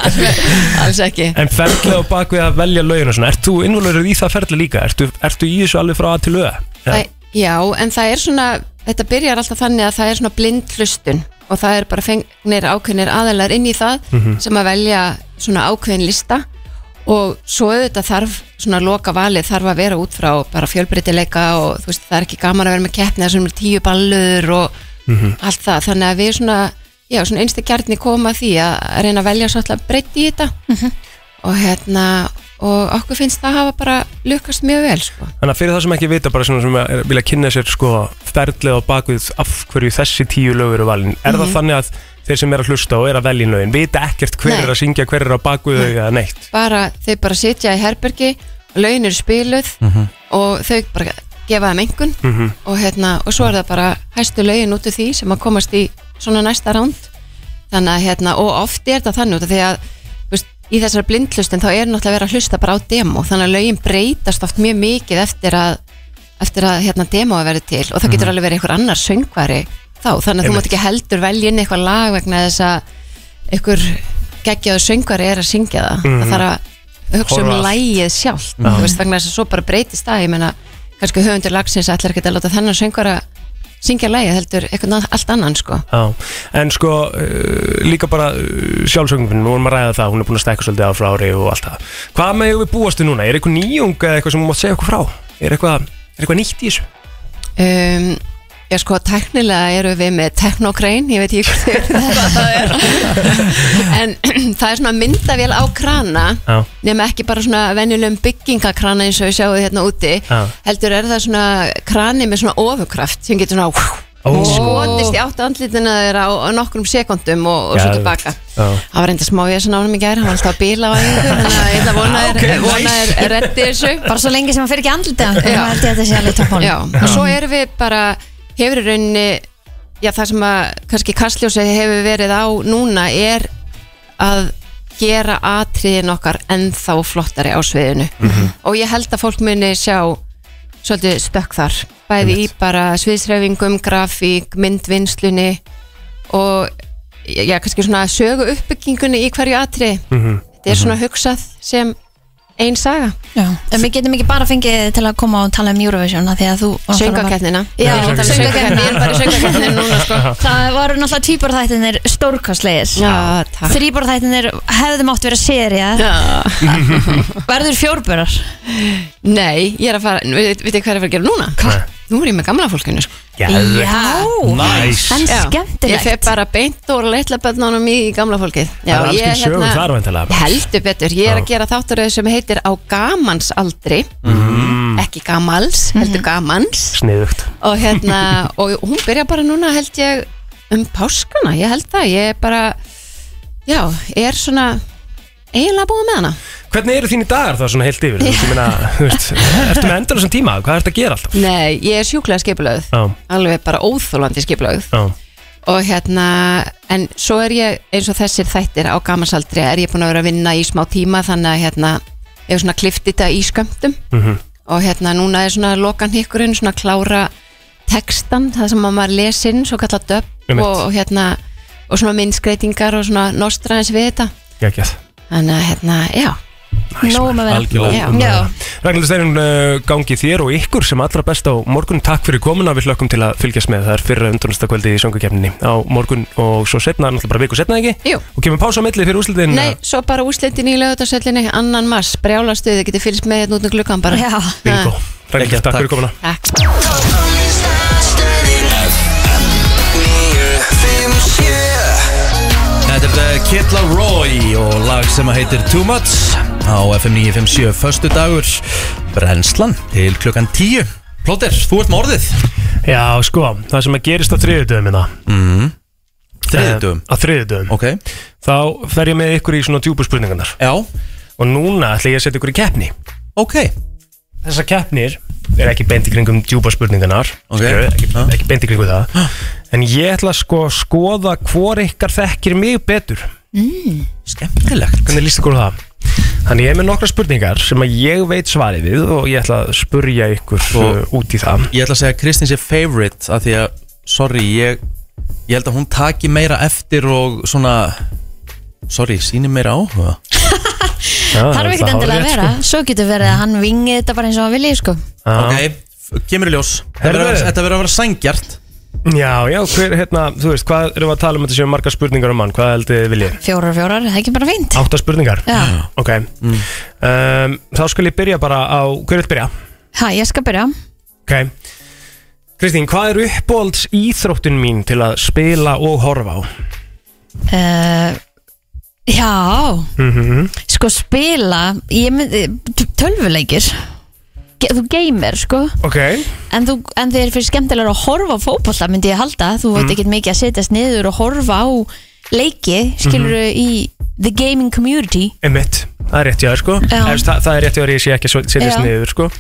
alls, [laughs] alls ekki En ferðlega á bakvið að velja laugina svona, ert þú innvöluður í það ferðlega líka? Ertu, ertu í þessu alveg frá að til löga? Það, já, en það er svona, þetta byrjar alltaf þannig að það er svona blind hlustun og það er bara fengnir ákveðnir aðalar inn í það sem að velja svona ákveðin lista og svo auðvitað þarf svona loka valið þarf að vera út frá bara fjölbreytileika og þú veist það er ekki gaman að vera með keppni þar sem er tíu ballur og allt það þannig að við svona, já svona einstu kjarni koma að því að að reyna að velja svolítið breytt í þetta og hérna og okkur finnst það hafa bara lukast mjög vel sko. Þannig að fyrir það sem ekki vita, bara svona sem er, vilja kynna sér sko ferðlega á bakvið af hverju þessi tíu lög eru valin. Er það þannig að þeir sem er að hlusta og er að velja lögin vita ekkert hver Nei. er að syngja, hver er á bakvið þau eða neitt? bara, þau bara sitja í herbergi laun eru spiluð og þau bara gefa þeim engun og, hérna, og svo er það bara hæstu laun út af því sem að komast í svona næsta ránd þannig að hérna, og oft er það þannig út af því að þú veist, í þessari blindlustin þá er náttúrulega verið að hlusta bara á demo þannig að laun breytast oft mjög mikið eftir að eftir að hérna, demoa verið til og það getur alveg verið einhver annar söngvari þá, þannig að þú mátt ekki heldur velja inn eitthvað lag vegna þess að einhver geggjaðu söngvari er að syngja það það þarf að hugsa um Mhm. Horfa allt. lægið sjálft mm veist, vegna þess að svo bara breytist það ég meina, kannski höfundur lagsins ætlar ekki að láta þennan söngvara syngja lægið heldur eitthvað na- allt annan sko Já, en sko uh, líka bara uh, sjálfsöngumfinn, nú erum að ræða það, hún er búin að stekka svolítið á frá ári og allt það. Hvað með við búastu núna? Er eitthvað nýjung eða eitthvað sem þú mátt segja okkur frá? Er eitthvað, er eitthvað nýtt í þessu? um, Já sko, tæknilega eru við með teknokrein, ég veit ekki hvað það er [laughs] En [clears throat] það er svona myndavél á krana Já. nema ekki bara svona venjulegum byggingakrana eins og við sjáum hérna úti Já. heldur er það svona krani með svona ofurkraft sem getur svona Ó. skotist í áttu andlitina þeirra á, á nokkrum sekundum og, og svo Geðveikt. tilbaka Já. það var enda smá ég sem ánum í gær hann var alltaf að bíla á einhver þannig að ég ætla að [laughs] Ah, vona þér okay, vona þér reddi þessu Bara svo lengi sem hann fyrir ekki andlita Já. Þannig held ég að þetta sé alveg tókmál Já, og svo erum við bara hefur í rauninni já, það sem að kannski kastljósið hefur verið á núna er að gera atriðin okkar ennþá flottari á sviðinu og ég held að fólk muni sjá svolítið stökk þar bæði í bara sviðsreifingum, grafík, myndvinnslunni og já, kannski svona sögu uppbyggingunni í hverju atriði þetta er svona hugsað sem ein saga, Já, en við getum ekki bara fengið þig til að koma og tala um Eurovision af því að þú söngakeppnina Já, Ég er að tala um söngakeppnina. söngakeppni, ég er bara í söngakeppninu núna sko. [laughs] Það voru náttúrulega tvíborðættinir stórkostlegir Já, takk Þrýborðættinir hefðu mátt vera sérija Já. Verður fjórbörar Nei, ég er að fara, veit veit þið hvað ég er að fara að gera núna? Hvað? Nú er ég með gamla fólkinu sko. Geðvegt. Nice. en Já. Ég fer skemmtilegt bara beint úr litla bönnunum í gamla fólkið Já, Það er alls ég, hérna ekki sögum þar Ég væntalega heldur betur, ég er að gera þáttaröð sem heitir á gamansaldri Mhm. ekki gamals, heldur gamans Sniðugt og [laughs] hérna, og hún byrja bara núna held ég um páskana, ég held það ég er bara, já er svona, eiginlega búin með hana Hvernig eru þín í dagar það svona heilt yfir? Þú veist, ég meina, þú veist, ertu með endalusan tíma? Hvað ertu að gera alltaf? Nei, ég er sjúklega skipulöð Já, alveg bara óþólandi skipulöð já, og hérna, en svo er ég eins og þessir þættir á gamansaldri er ég búin að vera að vinna í smá tíma þannig að hérna, ég er svona klift þetta í skömmtum mhm, og hérna núna er svona lokan hikkurinn svona klára textan, það sem að maður lesinn svo kallar döpp Einmitt. og, og hérna og svona minnskreitingar og svona nostraðins við þetta, geggjað þannig að hérna, já Nóum um að vera Algjörlega. Já. Já. Ragnhildur Steirinn uh, gangi þér og ykkur sem allra best á morgun Takk fyrir komuna, við hlökkum til að fylgjast með Það er fyrra undrunastakvöldi í söngukefninni á morgun og svo setna, náttúrulega bara viku setna ekki Jú. Og kemur pása á milli fyrir úslitin Nei, svo bara úslitin í lögutasöllinni annan mass, brjálastuð, þið getið fylgst með hérna út um gluggan bara Já. Bingo, Geggjað, Ragnhildur, takk takk. fyrir komuna Takk. Þetta er eh, Kid Laroi og lag sem að heitir Too Much á FM 957 Föstu dagur Brennslan til klukkan 10 Plóter, þú ert með orðið Já, sko, það sem að gerist á þriðudöfum minna Þriðdugum Á þriðudöfum Ok, Þá fer ég með ykkur í svona djúbu spurningarnar já, Og núna ætla ég að setja ykkur í keppni ok Þessar keppnir er ekki beint í kringum djúpa spurningarnar Ok. skilurðu, ekki, Já. ekki beint í kringum það En ég ætla sko að skoða hvor ykkar þekkir mig betur Skemmtilegt Hvernig líst ykkur á það? Þannig ég er með nokkra spurningar sem að ég veit svarið við og ég ætla að spurja ykkur Og- uh, út í það Ég ætla að segja að Kristín sé favorite af því að, sorry, ég ég held að hún taki meira eftir og svona sorry, síni meira áhuga Já, Það Þarf ekkert endilega að vera sko. Svo getur verið að hann vingi þetta bara eins og hann vilji sko. vera Ok, f- kemur í ljós Þetta verður Herðu. að vera- þetta verður að vera sængjart Já, já, hver, hérna, þú veist, hvað erum við að tala um þetta séu margar spurningar um mann, hvað heldur þið viljið? Fjórar, fjórar, það er ekki bara fínt Átta spurningar? Já. Ok, um, þá skal ég byrja bara á, hver er þetta byrja? Hæ, ég skal byrja Ok Kristín, hvað er uppbólds íþróttun mín til að spila og horfa á? uh, Já Mhm. Sko spila ég myndi, Tölvuleikir Ge- Þú geymir sko Ok En, þú, en þeir fyrir skemmtilega að horfa á fótbolta myndi ég halda, þú Mhm. veit ekkert mikið að setjast niður og horfa á leiki skilur Mhm. í the gaming community Emmett, það er rétt hjá þér sko Já. Efst, það, það er rétt hjá þér, ég sé ekki að setjast Já. niður sko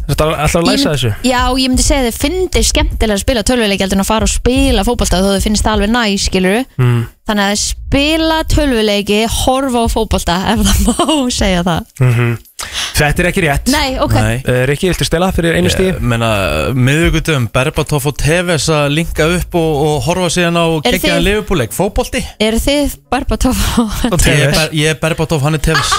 Þetta er alltaf að Ég læsa mynd- þessu Já, ég myndi segja að þið finnir skemmtilega að spila tölvuleiki heldur en að fara og spila fótbolta þó þið finnst það alveg næ, skilur mm. þannig að spila tölvuleiki horfa á fótbolta, ef það má [laughs] segja það. Þetta er ekki rétt Nei, ok Nei uh, Rikki, viltu stela fyrir einu stíð? Ég meina, miðugutum, Eh, Berbatov og Tevez að linka upp og, og horfa síðan á Eru geggjaðan þið- leifupúleik, fótbolti Eru þið Barbatov [laughs] og Og ég er, Tevez Ah, ber, ég er Berbatov, hann er Tevez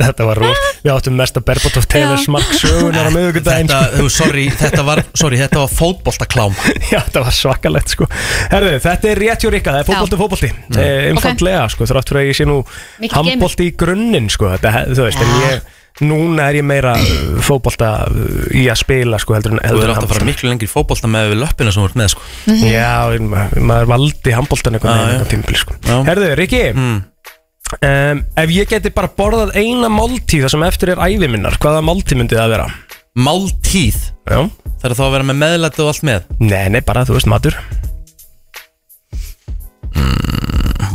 Þetta var rúst Við áttum mesta Berbatov Tevez [laughs] mark sögunar á miðugudaginn þetta, þú, sorry, þetta var, sorry, þetta var fótboltaklám [laughs] Já, þetta var svakalegt sko Herðu, þetta er rétt hjá Rikka, það er fótbolti og fótbolti Mm. eh, Einfaldlega sko, þrátt fyrir að ég sé nú Mikið handbolti í grunninn sko þetta, he- Þú veist, en ég, núna er ég meira uh, fótbolta uh, í að spila sko heldur en Þú heldur er en átt að fara handbolta. miklu lengri í fótbolta með við löppina sem þú ert með sko. Já, ma- maður valdi Já, handboltan eitthvað já. með tímpil sko Já. Mm. Herðu, Rikki um, Ef ég geti bara borðað eina máltíð það sem eftir er ævi minnar, hvaða máltíð myndi það vera? Máltíð, Já, það er þá að vera með meðlæti og allt með nei, nei, bara þú veist, matur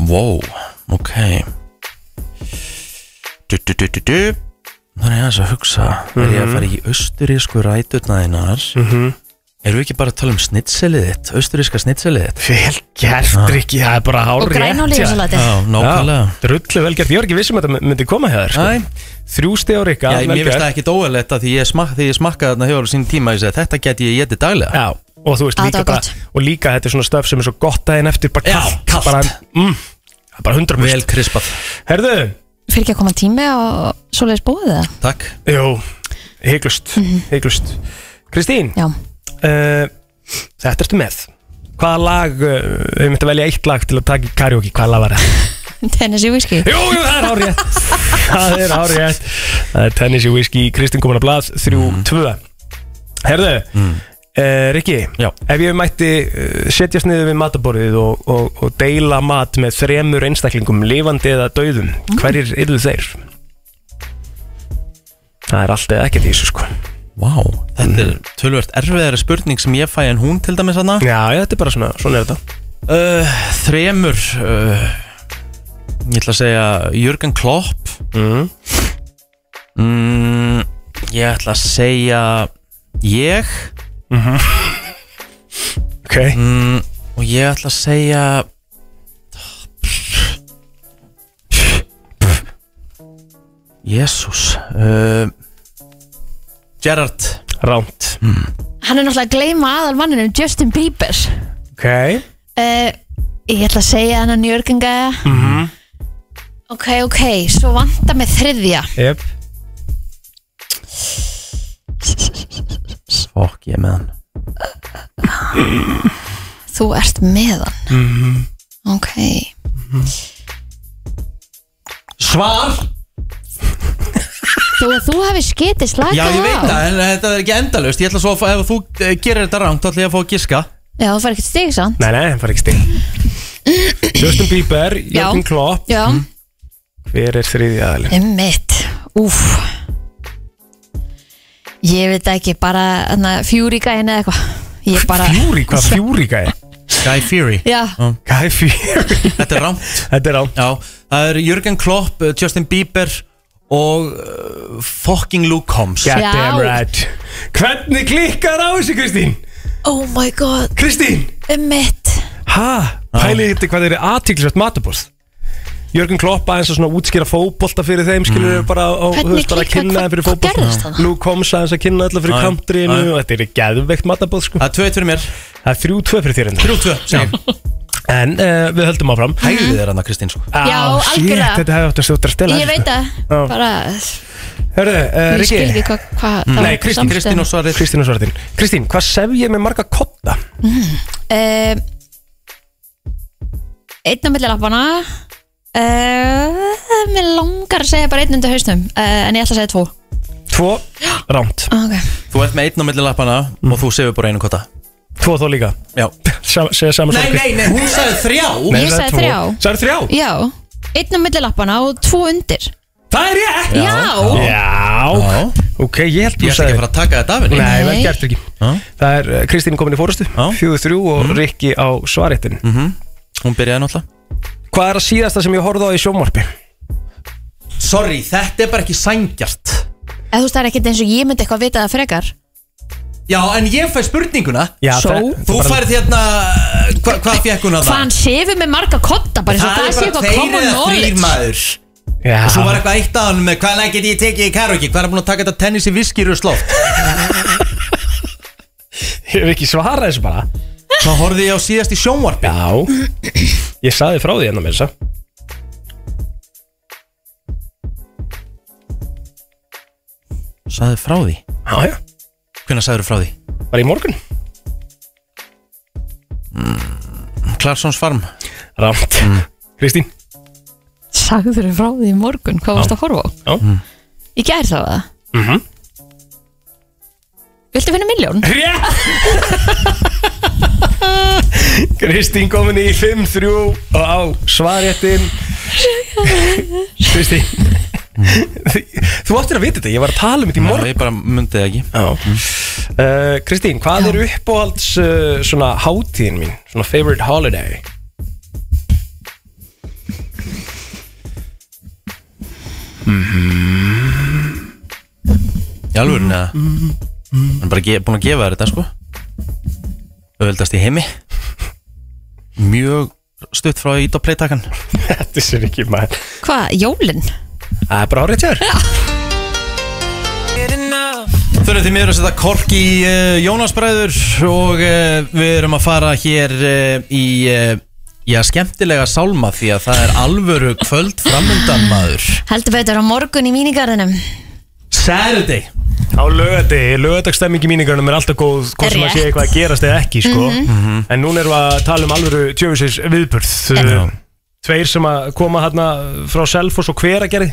Wow, ok du, du, du, du, du. Þannig að þess að hugsa Er ég að fara í austurísku ræturnaðinar mm Erum við ekki bara að tala um snitselið þitt, austuríska snitselið þitt? Vel gert, Rikki, það er bara hár Og grænolífsalatið Já, nákvæmlega. Drullu vel gert, ég var ekki vissum að þetta myndi koma hér sko. Æ, Þrjú stið á Rikka, já, vel mér finnst það gert ekki dóalegt að því ég, smak, því ég smakkaði þarna hefur á sín tíma ég segi, þetta get ég getið daglega. Já, og þú veist Að það líka var bara, og líka þetta er svona stöf sem er svo gott daginn eftir, bara Já, kalt, kalt. Bara, mm, það er bara 100 Vel krispað. Herðu, Fyrir ekki að koma tími og svoleiðis búið það Takk. jú, hygglust, hygglust Kristín, Mhm. Já, [laughs] uh, þetta ertu með Hvaða lag, uh, við myndum að velja eitt lag til að taka í karaoke, hvaða lag var það? Tennessee Whiskey Jú, jú, það er hárétt Það er hárétt Það er Tennessee Whiskey, Kristinn komin að blað 3-2 Herðu, mm. Rikki Já. Ef ég mætti uh, setjast niður við mataborðið og, og, og deila mat með þremur einstaklingum lifandi eða dauðum, hverjir yrðu þeir? Það er allt eða ekkert í þessu sko Vá, þetta er tölvöld erfiðari spurning sem ég fæ en hún til dæmis aðna. Já, já, þetta er bara svona, svona er þetta Uh, þremur, uh, ég ætla að segja Jörgen Klopp. mm. Mm, ég ætla að segja ég Ok, mm, og ég ætla að segja Jésús uh, Gerard ránt Hann er náttúrulega að gleyma aðal manninu Justin Bieber Ok, uh, Ég ætla að segja hann að njörginga mm Mhm. Ok, ok, svo vanda með þriðja yep. Fokk ég er með hann Þú ert með Mhm. hann -hmm. Ok Svar? Þú, þú hefði skitið slakað Já ég veit á. það en þetta er ekki endalust Ég ætla svo að fá, ef þú eh, gerir þetta rangt þá ætla ég að fá að giska Já, þú fær ekkert stig samt Nei, nei, það fara ekki stig [coughs] Justin Bieber, Já. Jörgen Klopp Já, Mhm. Hver er þriði aðalinn? einmitt Úf Ég veit það ekki, bara hana, fjúri gæin eða eitthvað Ég bara Fjúri, hvað fjúri gæði? Guy Fury Já, Gæði fjúri Þetta er rangt Þetta er á Já, það er Jörgen Klopp, eh, Justin Bieber og uh, fucking Luke Combs God Já. damn right Hvernig klikkar á þessu Kristín? oh my god, Kristín einmitt Ha? Pælið þetta hvað þeir eru aðtíklisvægt matabóð Jörgen Klopp aðeins að svona útskýra fótbolta fyrir þeim skilur mm. bara á, Hvernig þú veist, bara að klikkar- kynna þeim fyrir hvað- hvað fótbolta gerðist þarna? Nú koms aðeins að kynna alla fyrir Já, já. countryinu Já, já. og þetta er geðveikt matabóð sko Það er tveit fyrir mér Það er þrjú tvö fyrir þér enda Þrjú tvö, segjum En uh, við höldum áfram Hægðu þér hann að Kristín sko Já, Ah, shit, algjörlega. Þetta hefði átt að stjóta að stela Ég veit það, Já. bara Eh, Hörðu, uh, Ég skil Riki ekki hvað hva, Mm. Nei, Kristín, Kristín og svarið Kristín og svartin Kristín, hvað sef ég með marga kotta? uh, Einn á milli lappana uh, Mér langar að segja bara einn undir hausnum uh, En ég ætla að segja tvo [gasps] Tvo, rámt okay. Þú ert með einn á milli lappana og þú sefur bara einu kotta Tvo þó líka Já Sa- Segja saman Nei, nei, nei, hún sagði þrjá Ég sagði þrjá. Það er þrjá? Já, einn á milli lappana og tvo undir Það er rétt Já, Já Já. Ok, ég held Ég ætla ekki að fara að taka þetta af henni Nei, vel Nei. gert ekki Já. Það er uh, Kristín komin í fórustu Já. Mhm. Fjögur þrjú og Rikki á svaréttin Hún byrjaði náttúrulega Hvað er að síðasta sem ég horfði á í sjónvarpi? Sorry, þetta er bara ekki sængjart Eða þú veist það er ekkert eins og ég myndi eitthvað vita það frekar Já, en ég fæ spurninguna Já, Só. það- Þú bara- færð hérna, hva, hvað fekk hún að Hvað hann sefur með marga kotta bara eins og það sé eitthvað tveir common eða þrýr knowledge maður Já Og svo var eitthvað eitt af hann með hvað læg get ég tekið í karaoke Hvað er búin að taka þetta tennis í viskirusloft [laughs] Ég hef ekki svarað þessu bara Þá horfði ég á síðast í sjónvarpi Já Ég saði frá því hérna með þessa Saði frá því Já, já Hvernig sagður frá því? Bara í morgun Klarsons farm Rámt Mhm. Kristín Sagður frá því í morgun, hvað varst að horfa á? Já Ég gær það það Mhm. Viltu finna milljón? Rétt Kristín komin í 5-3 og á svaréttin Kristín Þú áttir að vita þetta, ég var að tala um þetta í morgun Ég bara myndi það ekki uh, Kristín, hvað er uppáhalds uh, svona hátíðin mín, svona favorite holiday Mm, Í alvöru neða Hann er bara ge- búin að gefa þér þetta sko auðvildast í heimi mjög stutt frá ít og playtakan Þetta er ekki maður Hvað, jólin? Það er bara árið tjör Þurfum því miður að setja kork í uh, Jónasbræður og uh, við erum að fara hér uh, í uh, já, skemmtilega sálma því að það er alvöru kvöld framundan maður Heldur betur á morgun í mínigarðinum Saturday Á lögati, lögatagsstemming í míningarnum er alltaf góð hvort sem að sé Rétt. eitthvað að gerast eða ekki sko. Mhm. En núna erum við að tala um alvöru tjöfisins viðburð Eh, Já. Tveir sem að koma hérna frá Selfoss og hveragerði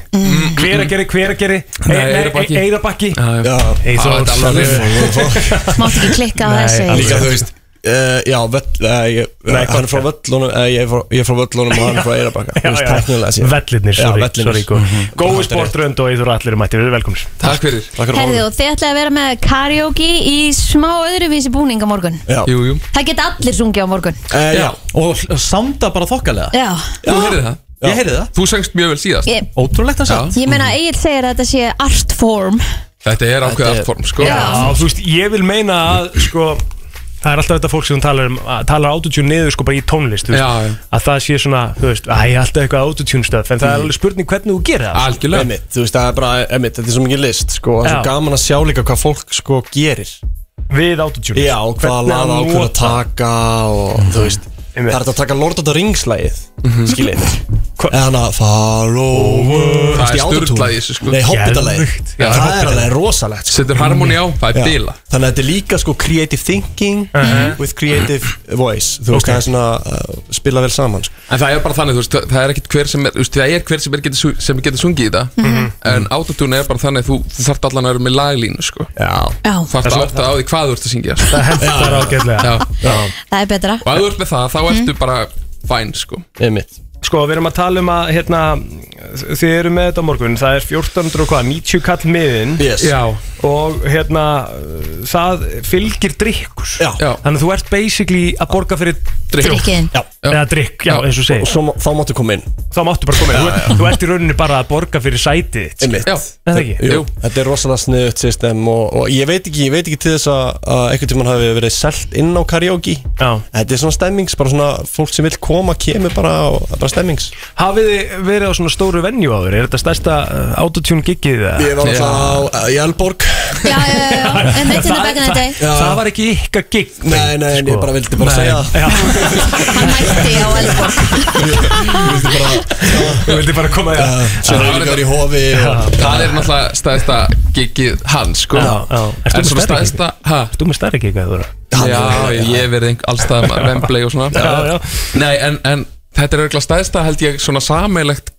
Hveragerði, hveragerði E- Eyrarbakki. Eirabakki Já, Eyþór, þetta er alveg Selfoss. Mátt ekki klikka á Nei, þessu alveg. Líka þú veist Uh, Eh, já, völl, uh, ég, Nei, hann er frá völlunum uh, ég, er frá, ég er frá völlunum og hann er frá Eirabakka Þú veist, tæknilega séð. Vellirnir, Já, sorry, vellirnir. Mhm. sorry mm Mhm. -hmm. Gói Þetta er rétt. sportrönd og Íður allir er mættir, við erum velkomnir Takk fyrir Takk fyrir Herðu og þið ætlaði að vera með karaoke í smá öðruvísi búning á morgun Já, Jú, jú Það geta allir sungið á morgun Eh, já. og hl- sounda bara þokkalega Já, þú heyrið það Ég heyrði það. Þú sengst mjög vel síðast ég, ótrúlegt að segja Já. ég meina að Egil segir að þetta sé art form Þetta er ákveð Þetta er- artform, sko Já, þú veist, ég vil meina að sko, það er alltaf þetta fólk sem talar, um, að talar autotune niður sko bara í tónlist þú veist, Já, já. að það sé svona, þú veist, æ, alltaf eitthvað autotune stöð, en Mm. það er alveg spurning hvernig þú gerir það Algjörlega Einmitt, þú veist, það er bara, einmitt, þetta er svo mikið list, sko Það er Já. svo gaman að sjá líka hvað fólk, sko, gerir við autotune Já, og hvaða laða ákveður að taka og, þú veist Það Einmitt. er þetta að taka Lord of the Rings-lægið, skiljið Eða hana, follow Það Þú veist, er í autotune. sturla í þessu, sko. Nei, hobbitalægið Geðveikt. Já, Það Hobbitalægið. er alveg rosalegt, sko Setur harmoni á, það er bila Þannig að þetta er líka sko creative thinking with creative voice Þú veist, Mhm. Ok. það er svona uh, spila vel saman sko. En það er bara þannig, þú veist, það er ekkit hver sem er, þú veist, það er hver sem, er getur, su- sem getur sungið í það En autotune er bara þannig, að þú, þú þarft allan að vera með laglínu, sko Já Já, Þarft að átta á því hvað þú ert að syngja [laughs] sko. Það hendar ágætlega Já, það er betra og ef þú ert með það, þá ertu bara fæn, sko Einmitt Sko, við erum að tala um að, hérna, þið eru með þetta á morgun Það er 1400 og hvað, 90 kall miðin Yes Og hérna, það fylgir drikkur Já. Þannig að þú ert basically að borga fyrir Drykkiðin Já Eða drikk, já, Já. eins og segir Og svo, má- þá máttu koma inn þá máttu bara koma inn Þú ert- Þú ert í rauninni bara að borga fyrir sætið þitt, sko. Einmitt Já, Er það ekki? Jú, Jú. þetta er rosalega sniðut system og, og ég veit ekki, ég veit ekki til þess að, að einhvern tímann hafi verið selt inn á karaoke Já. Þetta er svona stemmings, bara svona fólk sem vil koma kemur bara og það er bara stemmings Hafið þið verið á svona stóru venju áður? Er þetta stærsta uh, autotune giggið? eða? Ég var alltaf á uh, Jálborg Já, já, já, já, en veit þetta Það- back in the day það, það var ekki ykkar sko. gig Nei, nei, en ég bara vildi bara segja það. Hann mætti á Elfborg Ég vildi bara, Þú vildi bara koma í uh, það svo Já. reyningar í hofi og það er náttúrulega stæðsta gigið hans, sko Já, já. Ertu En með svona stærra gig? stæðsta, hæ? Þú með stærri gig að þú eru Já, ég hef verið einhver- alls staðar maður, Wembley og svona Já, já. Nei, en, en þetta er örgulega stæðsta held ég svona sameilegt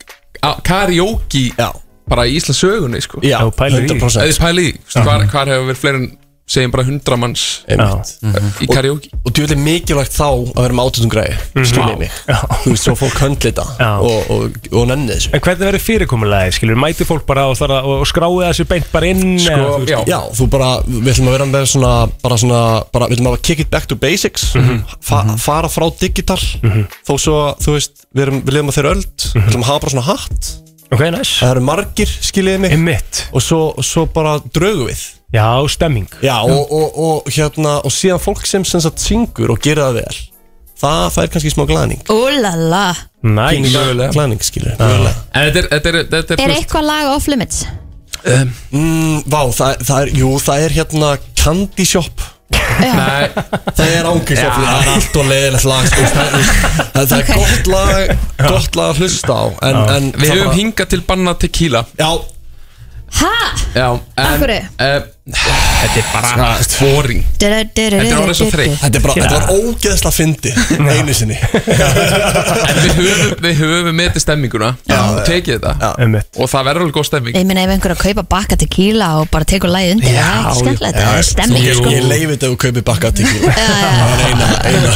karaoke Já. bara í Íslands sögunni sko. Já, Mhm. Já, pælir í. 100% eða pæli, í, þú veist, hvar, hvar hefur verið fleiri en segjum bara 100 manns eh, Einmitt. í karaoke Mhm. og djúvel er mikilvægt þá að vera með átutungræði skiljið mig, þú veist, svo fólk höndlita Mhm. Já. og, og, og nenni þessu En hvernig verður fyrirkomulagi? Skilur, mæti fólk bara og, þarf að- og skráið þessu beint bara inn eða, þú sko, veist? já, Já, þú bara, við ætlum að vera með svona bara svona, bara, við ætlum að kick it back to basics Mhm. fa fara frá digital þó svo, þú veist, við, erum, við lifum að þeirra öld Mhm. við ætlum að hafa bara svona hatt Ok, næs það eru margir, skiljiði mig Emmitt og svo, svo bara draugum við Já, stemming Já, og, og, og hérna, og síðan fólk sem sem sagt syngur og gera það vel það, það er kannski smá glæning Úlala Næs Mögulega. glæning, skiljiði, mögulega en þetta er, þetta er, þetta er, Er þú veist, eitthvað lag off limits? Mm, vá, það, það er, jú, það er hérna Candy Shop nei, Það er ángið svo fyrir, það er allt og leiðilegt lag sko, það, það, það er gott lag, gott lag að hlusta á En, en við það höfum bara- hingað til banna tequila Já, Ha? já, Af en, hverju? eh, þetta er bara boring Þetta Þetta er orðið svo þreytt. þetta er bara, þetta var ógeðslega fyndi Einu sinni en við höfum, við höfum metið stemminguna og tekið þetta Emmitt og það verður alveg góð stemming Ég meina ef einhver er að kaupa bakka tequila og bara tekur lagið undir, það er ekki skemmtilegt, það er stemming Jú. sko. Ég leifi þetta og kaupi bakka til Það er eina, eina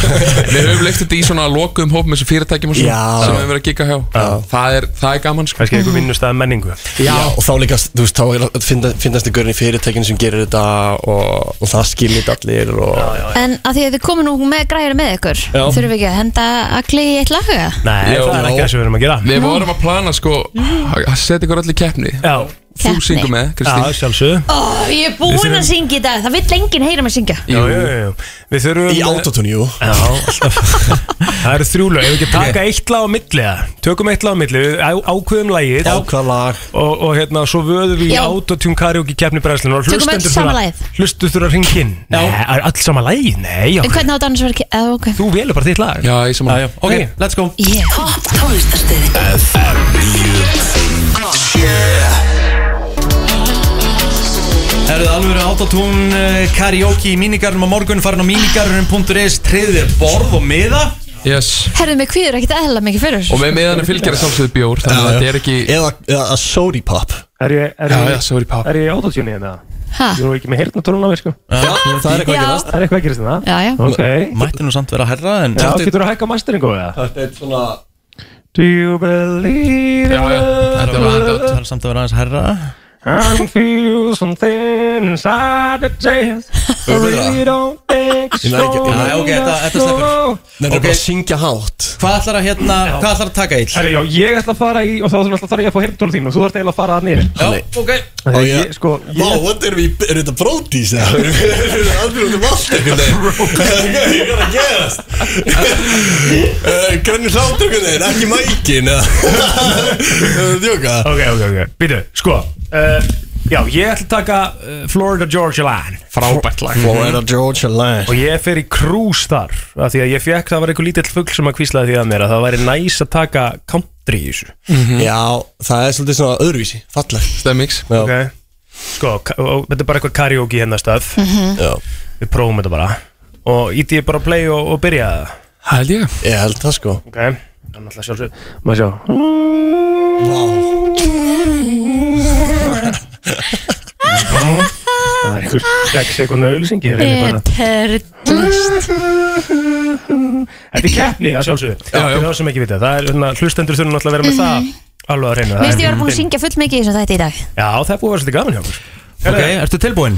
Við höfum leikt þetta í svona lokuðum hóp með þessu fyrirtækjum og svona Já. sem við höfum verið að gigga hjá það er, það er gaman sko Kannski eitthvað vinnustæða menningu Já, og þá líka, þú veist, þá er að finna- finnast einhverjum í fyrirtækinu sem gerir þetta og, og það skilir þetta allir og, En að því að þið komum nú með græður með ykkur, þurfum við ekki að henda agli í eitt lag eða? Nei, Jó, það er já. ekki það sem við erum að gera Við vorum að plana sko að setja ykkur öll í keppni Já, Þú syngur með, Já, Kristín sjálfsögðu Ó, ég er Við búin þurfum- að syngja í dag Það vill enginn heyra mig syngja Jú, jú, jú Við þurfum Í autotune, jú Já, [laughs] það eru þrjú lög, ef við ekki taka eitt lag á milli það Tökum eitt lag á milli, við á- ákveðum lagið og, Ákvað lag og hérna, svo vöðum við í Já. autotune karaoke keppni brennslinu Tökum öll sama lagið. Hlustu þurfa að ringja inn Nei, er all sama lagið? Nei, já, En hvernig á dansu verið ekki? Ok þú velur bara þitt lag Já, ég saman já, ok, Nei. let's go yeah. Topp tónlistarstöðin Herðu alveg autotún eh, karaoke í mínigarnum á morgun farin á mínigarnum.is triðir borð og miða Yes Herðu mig kvíður ekkert eðla mikið fyrir Og með meðan er fylgjara sjálfsögðu bjór Þannig að þetta er ekki Eða, eða sóri pop Er ég, er Já, ég, já, sorry pap er ég í autotune hérna? Ha? Ég er ekki með heyrnatólun á mér, sko Það er eitthvað Já, ekki það Það er eitthvað að gerist það? já, já Ok Mætti nú samt vera herra en Já, getur að hækka masteringu við það? Þetta er svona Do you believe Já, já, þetta var Það þetta er samt að vera aðeins herra I'm feel something inside the chest I really don't think so Ég næ ekki- Nei, ok, þetta- þetta sleppur. Nei, þetta er Ok. bara að syngja hátt Hvað ætlar að hérna, hvað ætlar að taka ill? Herri, já, ég ætla að fara í og þá ætla alltaf að ég að fá hirtúru þín og þú þarf eiginlega að fara að niður Já, ok Þegar já. ég, sko, Vá, ég, what er við, er þetta brótis eða? Eru þetta allir út um allt einhvern veginn? Ég er að gerast Eh, Grænir hlátur einhvern veginn, ekki mækin eða Djóka ok, ok, ok, býtu, sko uh, já, ég ætla að taka uh, Florida Georgia Line Frábært lag Florida Georgia Line og ég fer í krús þar af því að ég fekk, það var einhver lítill fugl sem að kvíslaði því að mér að það væri næs að taka country í þessu Já, það er svolítið svona öðruvísi, fallegt Stemmings Já, ok, sko, ka- og þetta er bara eitthvað karaoke hérna stöð, já. við prófum þetta bara og íti ég bara að play og, og byrja það Held ég Ég held það sko Ok, það er náttúrulega sjálfsög Maður sjá Það er einhver 6 sekundar auðlýsingi Þetta er Þetta er keppni að sjálfsög Það er það sem ekki vita Það er hérna, hlustendur þurfum náttúrulega að vera með það Alveg að reyna Mér finnst Mhm. ég vera búin að syngja full mikið í þessum þætti í dag Já, það er búið að vera svolítið gaman hjá okkur Ok, ertu tilbúinn?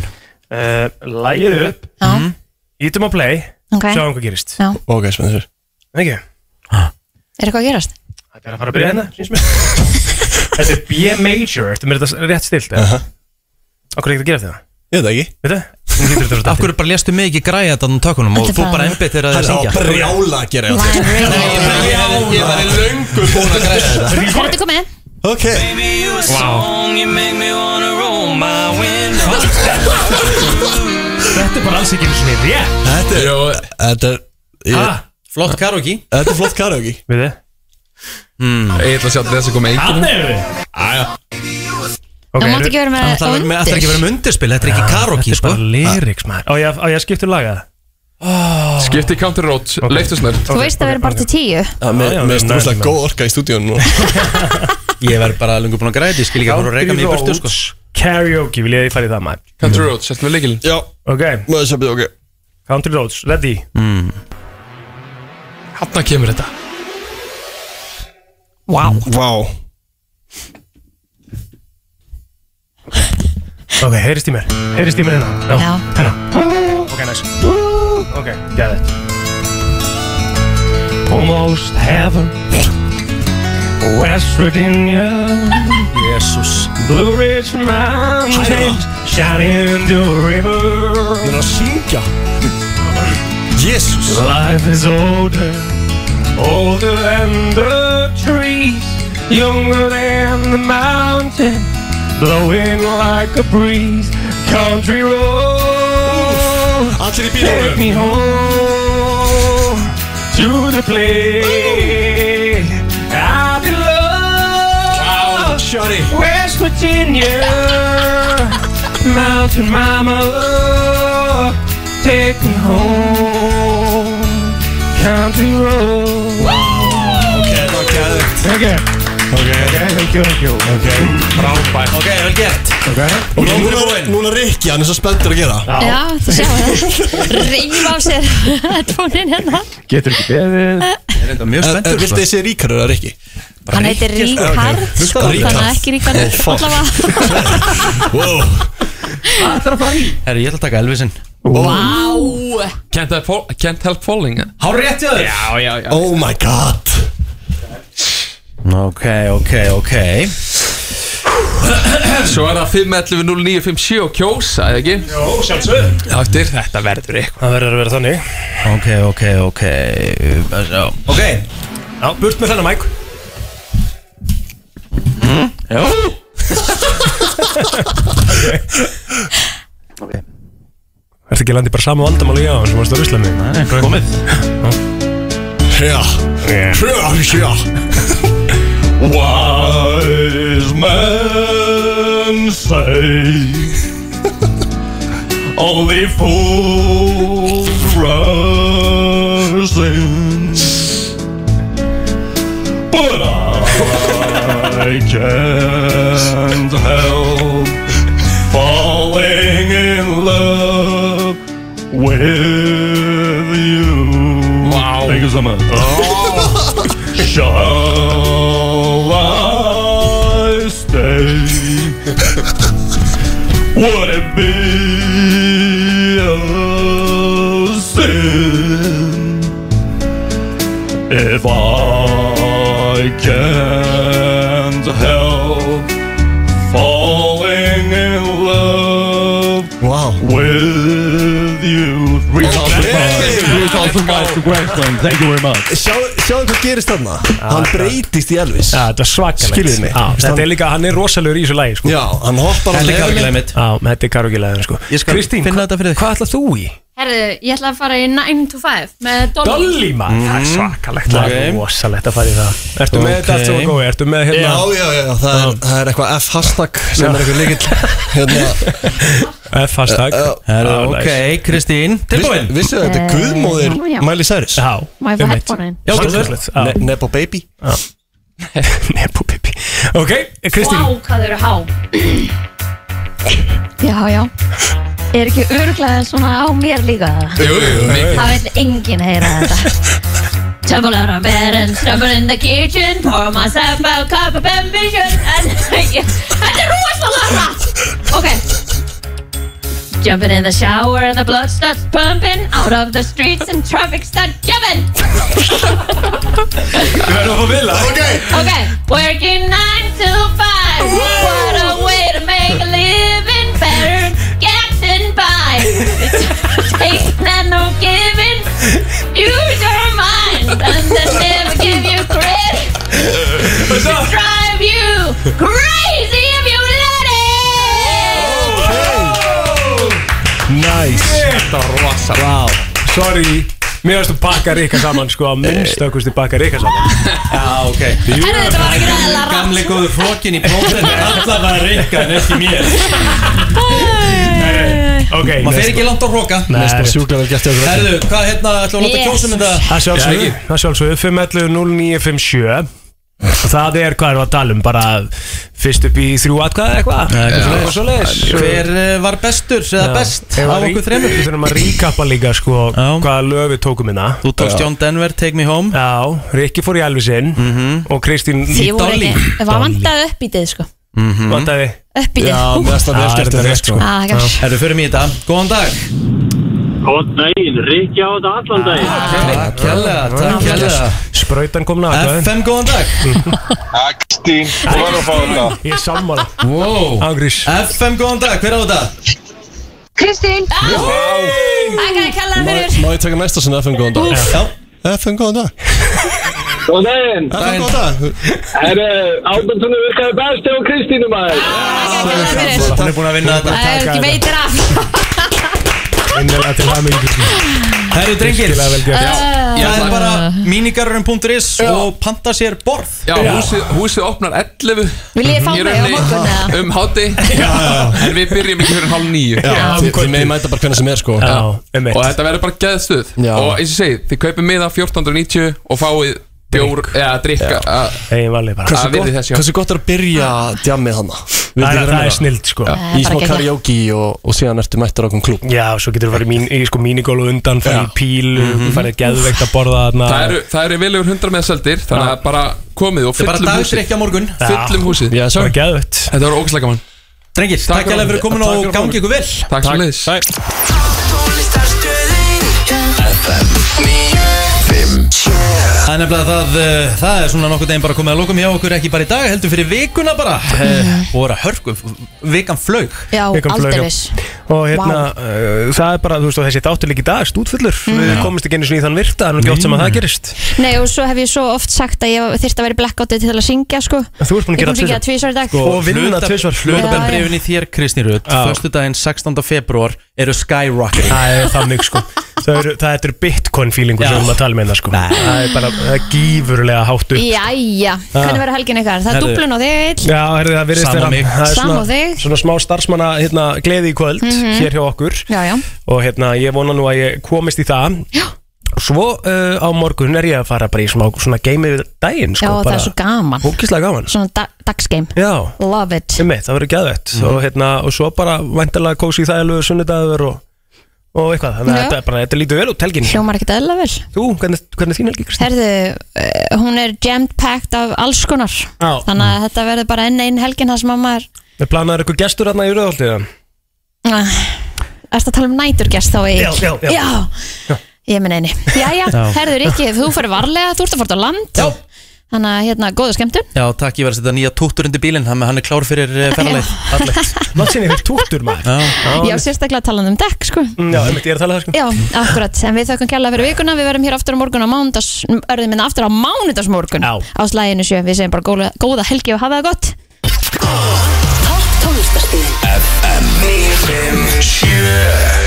uh, Lægið upp Já, Ítum á play ok Sjáum hvað gerist Já. Ok, spennur Ekki? Er eitthvað að gerast? Þetta er að fara að byrja hérna syns mér. [laughs] Þetta er B major Þetta er mér þetta rétt stilt uh -huh. Okkur er ekki að gera þetta Ég veit það ekki Veitu? Hún getur þetta Af hverju bara léstu mig ekki græja þetta á tökunum og Þetta er þú bara- bara einbytt þér að Það þér er á syngja? brjála að gera hjá þér Ég var í löngu búin að græja þetta Er þetta komið? Ok Þetta er bara alls ekki eins og rétt Þetta er Þetta er Ha? ég- Flott karaoke Þetta er flott karaoki Við þið? Ég ætla að sjá til þess að koma enginn Hann er við Þú Aja mátt ekki vera með Það ætlar ekki að vera með undirspil, þetta er ekki Þetta karaoke er sko bara lyrics maður Á ég að- á ég að skipta um laga Skipti Counter Roads, okay. leiftu snöld Þú veist að vera bara til tíu Já, Mér já, mér finnst nei, rúslega nei. góð orka í stúdíun [laughs] Ég verð bara löngu búin að græja þetta, ég skil ekki að voru að reyka mig í burtu sko Karaoke vil ég fara í það maður Counter Roads, sérstu með leikilinn Já, Ok, maður sem byrja ok Country Roads, ready Hanna kemur þetta Vá Ok, heyrist í mér Heyrist í mér hérna Já. Hérna Ok, nice Ok, get it Almost heaven West Virginia Jesus Blue Ridge Mountains Shining into the river Það er að syngja Jesus Life is older, older than the trees, younger than the mountain, blowing like a breeze. Country road, Allir í take bílunum me home to the place I belong. Shari West Virginia, Mountain Mama, take me home, country road. Ok, ok, thank you, thank you. Frábært Ok, vel gert Og núna, núna Rikki, hann er svo spenntur að gera Já, þú sjáu það Reif af sér tónin hérna Getur ekki beðið. Ég er enda mjög En- en spenntur Viltu sko þessi ríkarur að Rikki? Hann heitir Ríkard sko, Ríkharð. Þannig að ekki Ríkard Oh, fuck. Allavega Wow Herri, ég ætla að taka Elvisin Oh, Can't, help fall, can't help falling eh? Há rétt hjá þér Já, já, já Oh my god Ok, ok, ok Svo er það 5.11.09.57 og kjósa, eða ekki? Jó, sjálfsög Eftir Þetta verður eitthvað Það verður að vera þannig Ok, ok, ok Já, Ok Já, burt með þennan mæk Hmm? Já [laughs] Ertu ekki landið bara sama vandamáli í á sem varst á Íslandi? Nei, komið Já, já, já Wise men say only fools rush in, but I can't help falling in love with you. Wow! Thank you so much. [laughs] Shall I stay? Would it be a sin if I can't help falling in love with you? Thank you very much. Sjáðu sjáðu hvað gerist þarna Hann þetta- breytist í Elvis Já, þetta er svakalegt Skiljiði mig Já, Þetta er líka, hann er rosalur í þessu lagi sko. Já, hann hoppar á Þetta er leðinni. kargilegið mitt Já, þetta er karugilæðin sko. Ég skal Kristín, finna þetta fyrir þig hvað ætlað þú í? Herðu, ég ætla að fara í 9 to 5 með Dolly. Dolly maður Það er svakalegt Það er rosalegt að fara í það Ertu með þetta allt sem var góði? Ertu með Já, hérna já, já, það er, það er eitthvað F-hashtag sem er eitthvað líkill [laughs] hérna, F-hashtag Uh, Eh, Já, Herðu, Já, ok, Kristín Tilbúin Vissu að þetta er guðmóðir Miley Cyrus Já, Má ég fá einmitt. headphone-in? Já, Svakalegt, já. Ne- Nepo Baby Nepo pipi Ok, Kristín Vá, hvað þau eru há Já, já Er ekki örglega svona á mér líka Jú, jú, jú Það vil enginn heyra þetta Tumble out of bed and stumble in the kitchen Pour myself a cup of ambition [laughs] and Þetta er rosalega hratt Ok Jumping in the shower and the blood starts pumping Out of the streets and traffic starts jumping Við verðum að fá vilja Ok, Okay, working 9 to 5 What a way to make a living Better getting by Taking and no giving Use your mind And then never give you credit drive you crazy if you let it. Nice Þetta var rosalegt Wow Sorry Mér varstu pakka reyka saman sko Að minnstakusti pakka reyka saman Já, ok Herðu, þetta var ekki ræðilega rátt. Gamli góðu flokkin í plóðinu Alla var reyka, nefnir mér Ok [laughs] Maður fer ekki langt á hróka Nei, sjúklega vel gert hjá okkur Herðu, hvað hérna, ætlum við að láta Yes. kjósa mynda Það sjálfsögðu, það sjálfsögðu, 511-0957 Og það er, hvað erum við að tala um, bara fyrst upp í þrjú atkvæða eitthvað Eitthvað svoleiðis. Hver eh, var bestur, eða best Eigum af við að okkur rí- þremur Við þurfum að ríkappa líka sko Já. hvaða lög við tókum hérna Þú tókst John Denver, Take Me Home Já, Rikki fór í Elvisinn og Kristín Þið voru ekki Það Dolly. vantaði uppbítið sko vandaði Uppbítið Já, mér finnst það Já, vel gert þetta er þetta rétt, sko sko. Ah, gosh. Herðu, förum í þetta Góðan dag Góðan daginn, Rikki á þetta allan daginn Takk hérlega, Ah, takk hérlega Sprautan kom náðu FM, góðan dag Akstín, þú var að fá þetta Ég er sammála Wow Ángrís FM, góðan dag, hver á þetta? Kristín Þakka að kalla Má fyrir má ég taka næsta sinni FM góðan dag? Já, FM góðan dag Góðan daginn FM góðan dag Herru, ábundunum virkaði best hjá Kristínu maður Þakka að kalla fyrir hann er búin að vinna þetta Það er ekki veitir af Innilega til það mikið Herðu, drengir Skilaði vel gert Það er bara mínigarurinn.is og panta sér borð Já, húsið, húsið opnar 11 Vil ég fá Ég mig á raunni morgun eða? um háti En við byrjum ekki fyrir hálf nýju Já, þið- þið megin mæta bara hvernig sem er sko Já, Og einmitt þetta verður bara geðstuð Já. Og eins og ég segi, þið kaupið miða 1490 Og fáið bjór, eða drikka að- Egin valið bara Hversu Það virði gott- þessi, já. Hversu gott er að byrja djammið hana? Það er- það er snild sko hérna Í smá karaoke og, og síðan ertu mættur á okkur klúb Já, svo getur þú farið mín, í sko mínigólu undan, farið í Já. pílu, mm -hmm. farið geðveikt að borða þarna Það eru, það eru vel yfir 100 með seldir Þannig að bara komið og Bara fyllum húsið dagdrykja morgun Fyllum húsið Já, Það svo er geðveikt Þetta var ógæslega gaman Drengir, Takk takk alveg fyrir komin Takk og fyrir gangi ykkur vel Takk svo leiðis FM 957 er nefnilega það, uh, það er svona nokkuð deginn bara komið að lokum hjá okkur ekki bara í dag, heldur fyrir vikuna bara uh, voru að hörku, vikan flaug Já, Vikan flaug, já. Og hérna, uh, það er bara, þú veist, og þessi dátur líka í dag, stútfullur Mm. Við Já. Mm. komumst ekki einu sinni í þann virta, það er nú ekki oft sem að það gerist Nei og svo hef ég svo oft sagt að ég þyrst að vera í blackoutið til að syngja sko Þú ert Ég búin að gera Sko. kom syngja tvisvar í dag Og vinna tvisvar. Hlutabæðbrifin Sko, í þér, Kristni Rutt Föstudaginn 16. februar eru skyrocketing Það er þannig [laughs] sko Það eru, það þetta eru bitcoin feelingur sem við erum að tala með það sko Það er bara, það er gífurlega hátt upp Jæja, hvernig verður helgin ykkar? Það er Herðu. dublun á þig Egill? Já, herri, það virðist Sama vera- mig. það er Sama svona- þig. Svona smá starfsmanna hérna, gleði í kvöld Mhm. hér hjá okkur Já, já og hérna, ég vona nú að ég komist í það Já Svo uh, á morgun er ég að fara bara í smá svona game yfir daginn sko, Já, það er svo gaman Hókislega gaman Svona da dagsgame Já Love it Einmitt, það verður gæðvett og, hérna, og svo bara væntalega kósi í þægilegu sunnudagur og, og eitthvað Þannig að Já. þetta, er bara, þetta lítur vel út helgin Hljómar ekkert eðla vel Þú, hvernig, hvernig þín helgi Kristín? Herðu, uh, hún er jammed packed af alls konar Já. Þannig að þetta verður bara enn einn helgin Það sem að maður Við planaður eitthvað gestur hérna í Röðholtið uh, Ertu að tala um næturgerst þá Egill? Já, já, já. Ég minn eini Jæja, Já. herðu Rikki, þú fyrir varlega Þú ert að fara út á land Já Þannig að hérna, góða skemmtun Já, takk, ég var að setja nýja túttur undir bílinn hann, hann er klár fyrir uh, ferðarleið Látt sinni fyrir túttur maður Já, sérstaklega talað um dekk, sko Já, einmitt, ég er að tala það sko Já, akkurat, en við þökkum kjalla fyrir vikuna Við verum hér aftur á morgun á mánudags Örðum minna aftur á mánudagsmorgun Já. Á slæginu sjö, við segjum bara góða, góða helgi og hafa það gott FM 957